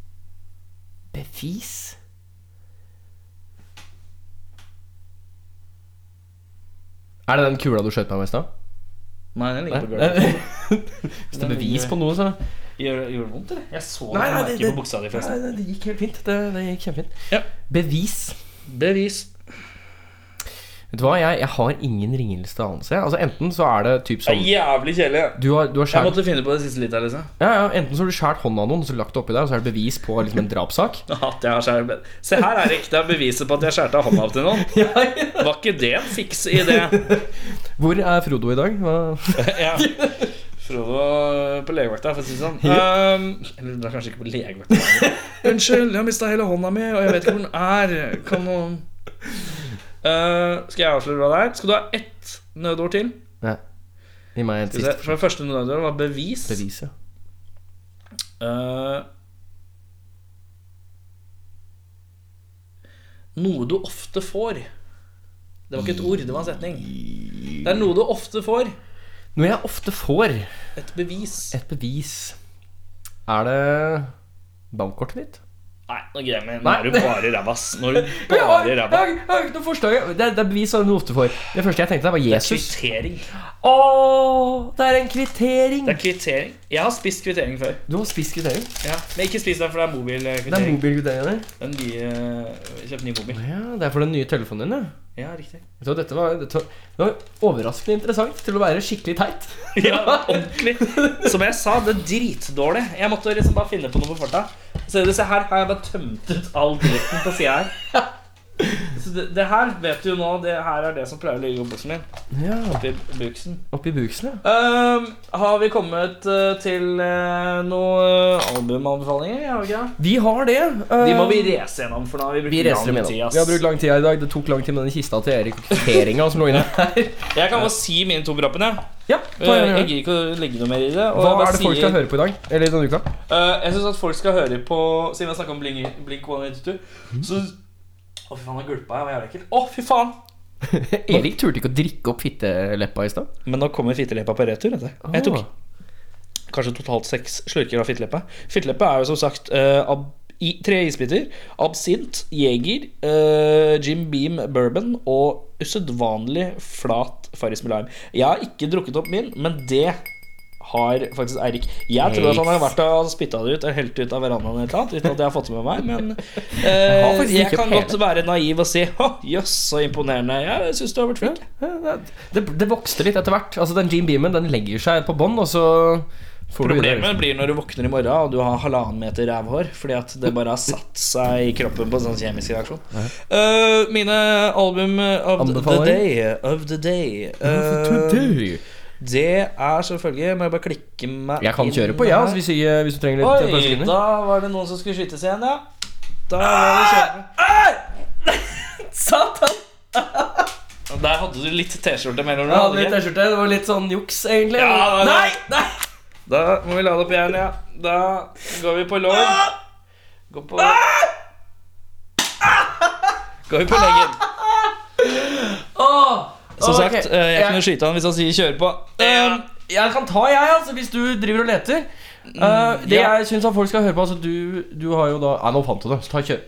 Bevis? Er det den kula du skjøt meg med i stad?
Nei, den ligger på
Nei.
gulvet.
Hvis det er bevis på noe, så
Gjør, gjør det vondt, eller? Jeg så
Nei,
det
nei,
på
det-
merket
det-
på buksa di,
Nei,
forresten.
nei, det gikk helt fint. Det, det gikk kjempefint.
Ja.
Bevis.
Bevis.
Vet du hva, jeg, jeg har ingen ringeliste anelse. jeg. Altså, enten så er det
Det
typ
er
sånn
jævlig kjedelig.
du har, du har
Jeg
skjært,
måtte finne på det siste litt her, liksom.
ja, ja, Enten så har du skjært hånda av noen, så lagt det oppi der, og så er det bevis på liksom, en drapssak.
At jeg har skjært Se her, Erik. Det er beviset på at jeg skjærte hånda av til noen. Var ikke det en fiks idé?
Hvor er Frodo i dag? Hva?
Ja. Frodo på legevakta, for å si det sånn. Ehm, eller det er kanskje ikke på legevakta. Unnskyld, jeg har mista hele hånda mi, og jeg vet ikke hvor den er. Kan noen Eh, Skal jeg avsløre hva det er? Skal du ha ett nødord til?
Gi meg et
Skal vi se,
siste
For det første nødordet var bevis.
bevis. Ja.
Eh, noe du ofte får. Det var ikke et ord, det var en setning. Det er noe du ofte får.
Noe jeg ofte får
Et bevis.
et bevis Er det bankkortet mitt?
Nei, nå greier jeg meg. Nå er du bare ræva, ass. Nå er du
Jeg har,
bare
jeg,
ræva.
har, jeg har ikke noe forslag. Det, er- det er bevis av noe ofte får. Det første jeg tenkte, var
Det er
Jesus.
kvittering.
Å, det er en kvittering!
Det er kvittering. Jeg har spist kvittering før.
Du har spist kvittering.
Ja. Men ikke spis den, for det er
Det er
mobilkvittering.
mobilkvitteringen der.
Den nye Kjøp ny mobil.
Ja, det er for den nye telefonen din, ja.
Ja, riktig.
Vet du hva, dette var, dette var, det var overraskende interessant til å være skikkelig teit.
Ja, ordentlig. Som jeg sa, det er dritdårlig. Jeg måtte liksom bare finne på noe på farta. Se, se her har jeg bare tømt ut all dritten på sida her. Så det, det her vet du jo nå, det her er det som pleier å ligge i buksen min.
Ja,
Oppi buksen.
Oppi buksen, ja.
Ehm, har vi kommet eh, til eh, noen albumanbefalinger? Har vi ikke det?
Vi har det.
De må
eh,
vi race gjennom, for nå har vi brukt
vi reiser
lang
dem
tid.
igjen.
ass.
Vi har brukt lang tid her i dag. Det tok lang tid med den kista til Erik og kvitteringa som lå inne her.
Jeg kan bare si mine to på rappen, jeg.
Ja,
Eh,
ta
Jeg
gjerne det.
gidder ikke å legge noe mer i det. og
Hva
jeg bare
er det folk
sier-
skal høre på i dag? Eller denne uka?
Eh, jeg syns at folk skal høre på Siden vi har snakka om Blink, Blink 182, så Å, fy faen, nå gulpa jeg. Det var jævlig ekkelt. Å, fy faen!
Erik turte ikke å drikke opp fitteleppa i stad.
Men nå kommer fitteleppa på retur. Vet du. Jeg tok kanskje totalt seks slurker av fitteleppa. Fitteleppe er jo som sagt eh, ab i, tre isbiter. Absint, Jeger, eh, Jim Beam bourbon og usedvanlig flat Farris med lime. Jeg har ikke drukket opp min, men det har faktisk Eirik. Jeg tror at han har vært og spytta det ut og helt ut av verandaen eller noe, uten at jeg har fått det med meg, men eh,
har faktisk
jeg
ikke
kan
peiling.
godt være naiv og si «Å, jøss, så imponerende. Jeg syns du har vært flink.
Ja, det- Det, det vokste litt etter hvert. Altså Den Gene Beamen den legger seg på bånn, og så får du det.
Problemet blir når du våkner i morgen og du har halvannen meter rævhår fordi at det bare har satt seg i kroppen på en sånn kjemisk reaksjon. Eh, mine album of
Anbefaler.
the day, of the day eh, Det er selvfølgelig Må jeg bare klikke meg
Jeg kan
inn
kjøre på, jeg, ja,
her.
altså, hvis, jeg- hvis du trenger litt eh,
Oi,
pølsekvinner.
da var det noen som skulle skytes igjen, ja. Da var det kjøpe.
Satan!
Der hadde du litt T-skjorte mellom
Jeg
deg.
hadde litt
hadde du ikke?
T-skjorte. Det var litt sånn juks, egentlig.
Ja, det var-
nei, nei!
Da må vi lade opp igjen, ja. Da går vi på lår.
Ah!
Går på Går vi på leggen.
Ah! Åh,
Som
åh,
sagt,
ok.
eh, jeg kunne
jeg,
skyte han hvis han sier 'kjør på'.
Ehm, jeg kan ta, jeg, altså, hvis du driver og leter. Eh, det
Mm, ja.
jeg syns folk skal høre på altså, du, du har jo da Nei, nå fant du det. Så ta kjør.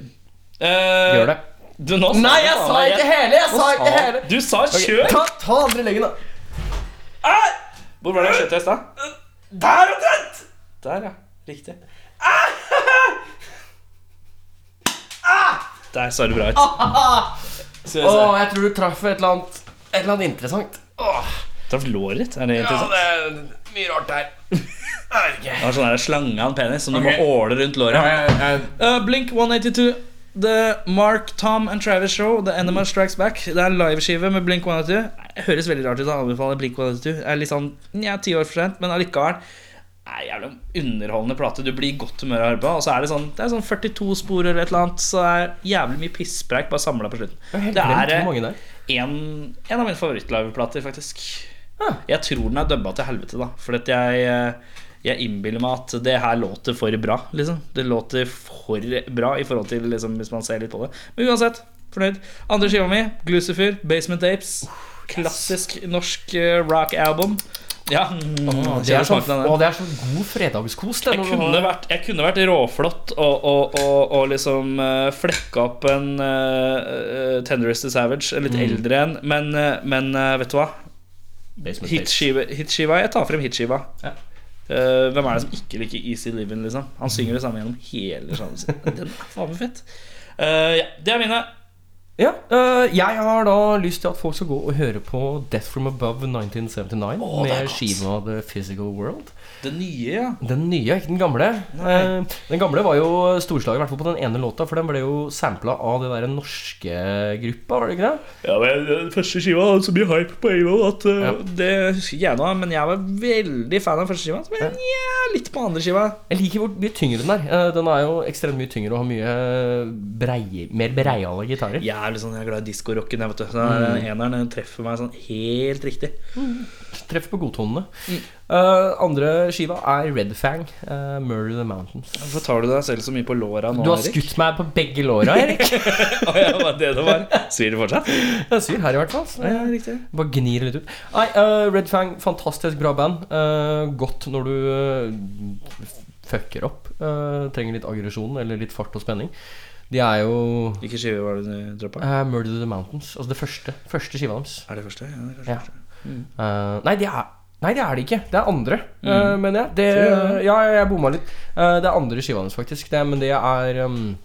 Eh,
Gjør det.
Du, nå
Nei, jeg sa
faen meg
ikke hele! Jeg sa ikke hele!
Du sa 'kjør'!
Ta, ta andre leggen, da.
Hvor var det jeg skjøt deg i stad?
Der omtrent! Ah!
Der, ja. Riktig. Der så det bra ut. Skal vi
Ah! Åh,
se.
jeg tror du traff et eller annet Et eller annet interessant. Åh,
Traff låret ditt? Er det interessant?
det er mye rart her.
Det var sånn der slange av en penis som du må åle rundt låret. Eh, Blink 182. The Mark, Tom and Travis Show. The Enema Strikes Back. Det er en liveskive med Blink 182. Det høres veldig rart ut. Jeg anbefaler Blink 182. Det er litt sånn ja, ti år for sent, men allikevel. Det er en jævlig underholdende plate. Du blir i godt humør av å høre på. Og så er det sånn Det er sånn 42 spor eller et eller annet, så det er jævlig mye pisspreik bare samla på slutten.
Det
Det er,
er
eh,
hvor mange der.
en, en av mine favorittliveplater, faktisk.
Ah.
Jeg tror den er dubba til helvete, da. For at jeg, eh, jeg innbiller meg at det her låter for bra. Liksom. Det låter for bra i forhold til liksom, hvis man ser litt på det. Men uansett, fornøyd. Andre skiva mi, Glucifer, Basement Apes. Klassisk norsk eh, rock-album. Ja, mm,
Åh, det,
kjenner
er sånn,
smaken av den.
åh, det er sånn god fredagskos. Det,
Jeg
når du
kunne
har-
vært, jeg kunne vært råflott og, og, og, og liksom eh, flekka opp en uh, Tenderist the Savage, en litt eldre en, men, eh, men eh, vet du hva?
Basement Tapes.
Hitskiva, hitskiva, Jeg tar frem hitskiva.
Ja.
Eh, hvem er det som ikke liker Easy Living? Liksom? Han synger det samme gjennom hele sangen sin. Den er faen meg fett. Eh, ja, det er mine.
Ja, øh, jeg har da lyst til at folk skal gå og høre på Death From Above 1979
Åh, det er
med
godt.
skiva The Physical World.
Det nye, ja.
Den nye, ikke den gamle. Eh, Den gamle var jo storslager, i hvert fall på den ene låta, for den ble jo sampla av det der norske gruppa, var det ikke det?
Ja, men eh, Den første skiva hadde så mye hype på en gang at eh,
Ja.
det husker ikke jeg nå. Men jeg var veldig fan av første skiva. Så ble jeg nja, litt på andre skiva.
Jeg liker hvor mye tyngre den er. Eh, Den er jo ekstremt mye tyngre og har mye brei, mer breiale gitarer.
Jeg er, litt sånn, jeg er glad i diskorocken. jeg, vet du. Så den Eneren den treffer meg sånn helt riktig.
Treffer på godtonene. Eh, andre skiva er Red Fang, eh, Murder the Mountains.
Hvorfor tar du deg selv så mye på låra nå,
Du har
Erik?
skutt meg på begge låra, Erik.
Å, ja, var det det var? Svir det fortsatt?
Jeg syr her, i hvert fall. så-
Ja, riktig.
Bare gnir litt ut. Nei, eh, Red Fang, fantastisk bra band. Eh, godt når du eh, fucker opp. Eh, trenger litt aggresjon eller litt fart og spenning. De er jo
Hvilken skive var det du droppa?
eh, Murder the Mountains. Altså det første. Første skiva deres.
Er det første? Ja, det er kanskje
Ja.
første.
Eh, nei, det er Nei, det er det ikke. Det er andre,
Mm.
eh, mener jeg. Det, ja, ja, jeg bomma litt. Eh, det er andre skiva hans, faktisk. Det, men det er um,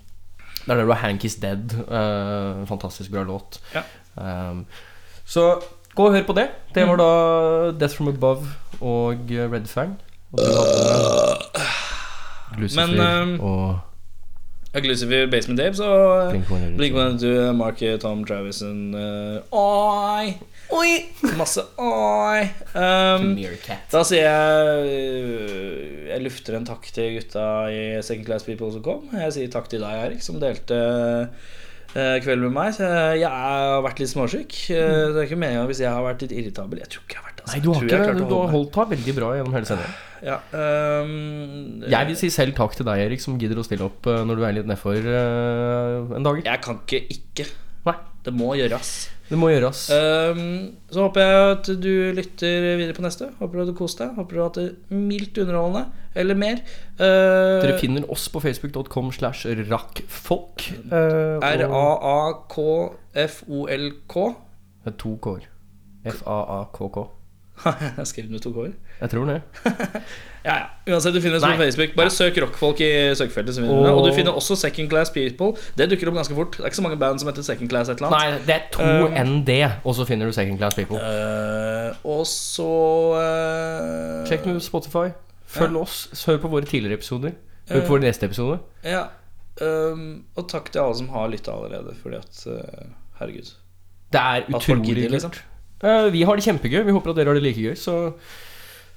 Det er der hvor Hank is dead. eh, fantastisk bra låt.
Ja.
Eh, så gå og hør på det. Det var da
Mm.
Death From Above og eh, Red Fang. Og så hadde du Lucifer
Men, eh,
og
Ja, Glucifer, Basement Dave, så
Blink One
Blink One to Mark eh, Tom Travison eh, Oi! Oi! Masse oi! Um, da sier jeg eh, Jeg lufter en takk til gutta i Second Class People som kom. Jeg sier takk til deg, Erik, som delte eh, kvelden med meg. Så jeg jeg har vært litt småsyk. Eh, det er ikke meninga hvis jeg har vært litt irritabel. Jeg tror ikke jeg har vært det. altså.
Mm. Nei, du har
Jeg
ikke
tror jeg
det.
klarte å
Du har
holde meg.
holdt deg veldig bra gjennom hele sendinga.
Ja, ehm,
Jeg vil si selv takk til deg, Erik, som gidder å stille opp eh, når du er litt nedfor eh, en dag.
Jeg kan ikke ikke.
Nei.
Det må gjøres.
Det må gjøres.
Ehm, så håper jeg at du lytter videre på neste. Håper du hadde kost deg. Håper du har hatt det mildt underholdende, eller mer. Eh,
Dere finner oss på facebook.com slash rakkfolk. eh, og-
R-A-A-K-F-O-L-K.
Det er To k-er. F-a-a-k-k.
Jeg har skrevet med to k-er.
Jeg tror det.
Ja, ja. Uansett, du finner oss på
Nei.
Facebook. Bare søk rockfolk i søkefeltet. Så finner du det.
Og-
Og du finner også Second Class People. Det dukker opp ganske fort. Det er ikke så mange band som heter Second Class et eller annet.
Nei, det er to nd, og så finner du Second Class People.
Eh, og så eh,
Sjekk med Spotify. Følg oss. Hør på våre tidligere episoder. Hør
Eh.
på våre neste episode.
Ja. ehm, og takk til alle som har lytta allerede, fordi at eh, Herregud.
Det
At
er
folk
utrolig
gidder,
kult.
liksom.
Eh, Vi har det kjempegøy. Vi håper at dere har det like gøy. Så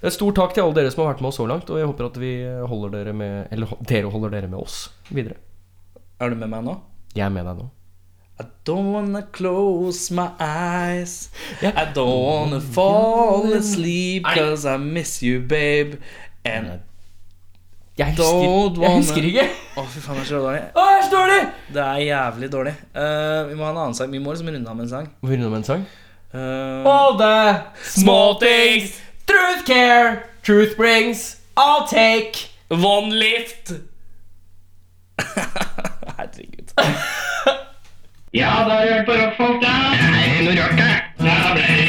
det er stor takk til alle dere som har vært med oss så langt. Og jeg håper at vi holder dere med Eller ho- dere holder dere med oss videre.
Er du med meg nå?
Jeg er med deg nå.
I don't wanna close my eyes. I don't wanna fall asleep cause I miss you, babe. And I
Jeg
Don't
husker, jeg
wanna-
husker ikke.
Å, fy faen, det er så dårlig.
Å, her står det!
Det er jævlig dårlig. Eh, vi må ha en annen sang. Vi må liksom runde av med en sang.
Må vi runde med en sang?
Eh,
All the small things truth care, truth brings, I'll take.
One lift! Herregud.
Ja, da har du hørt på rockfolk, da. Nei, noe rart, det. Ja, da ble det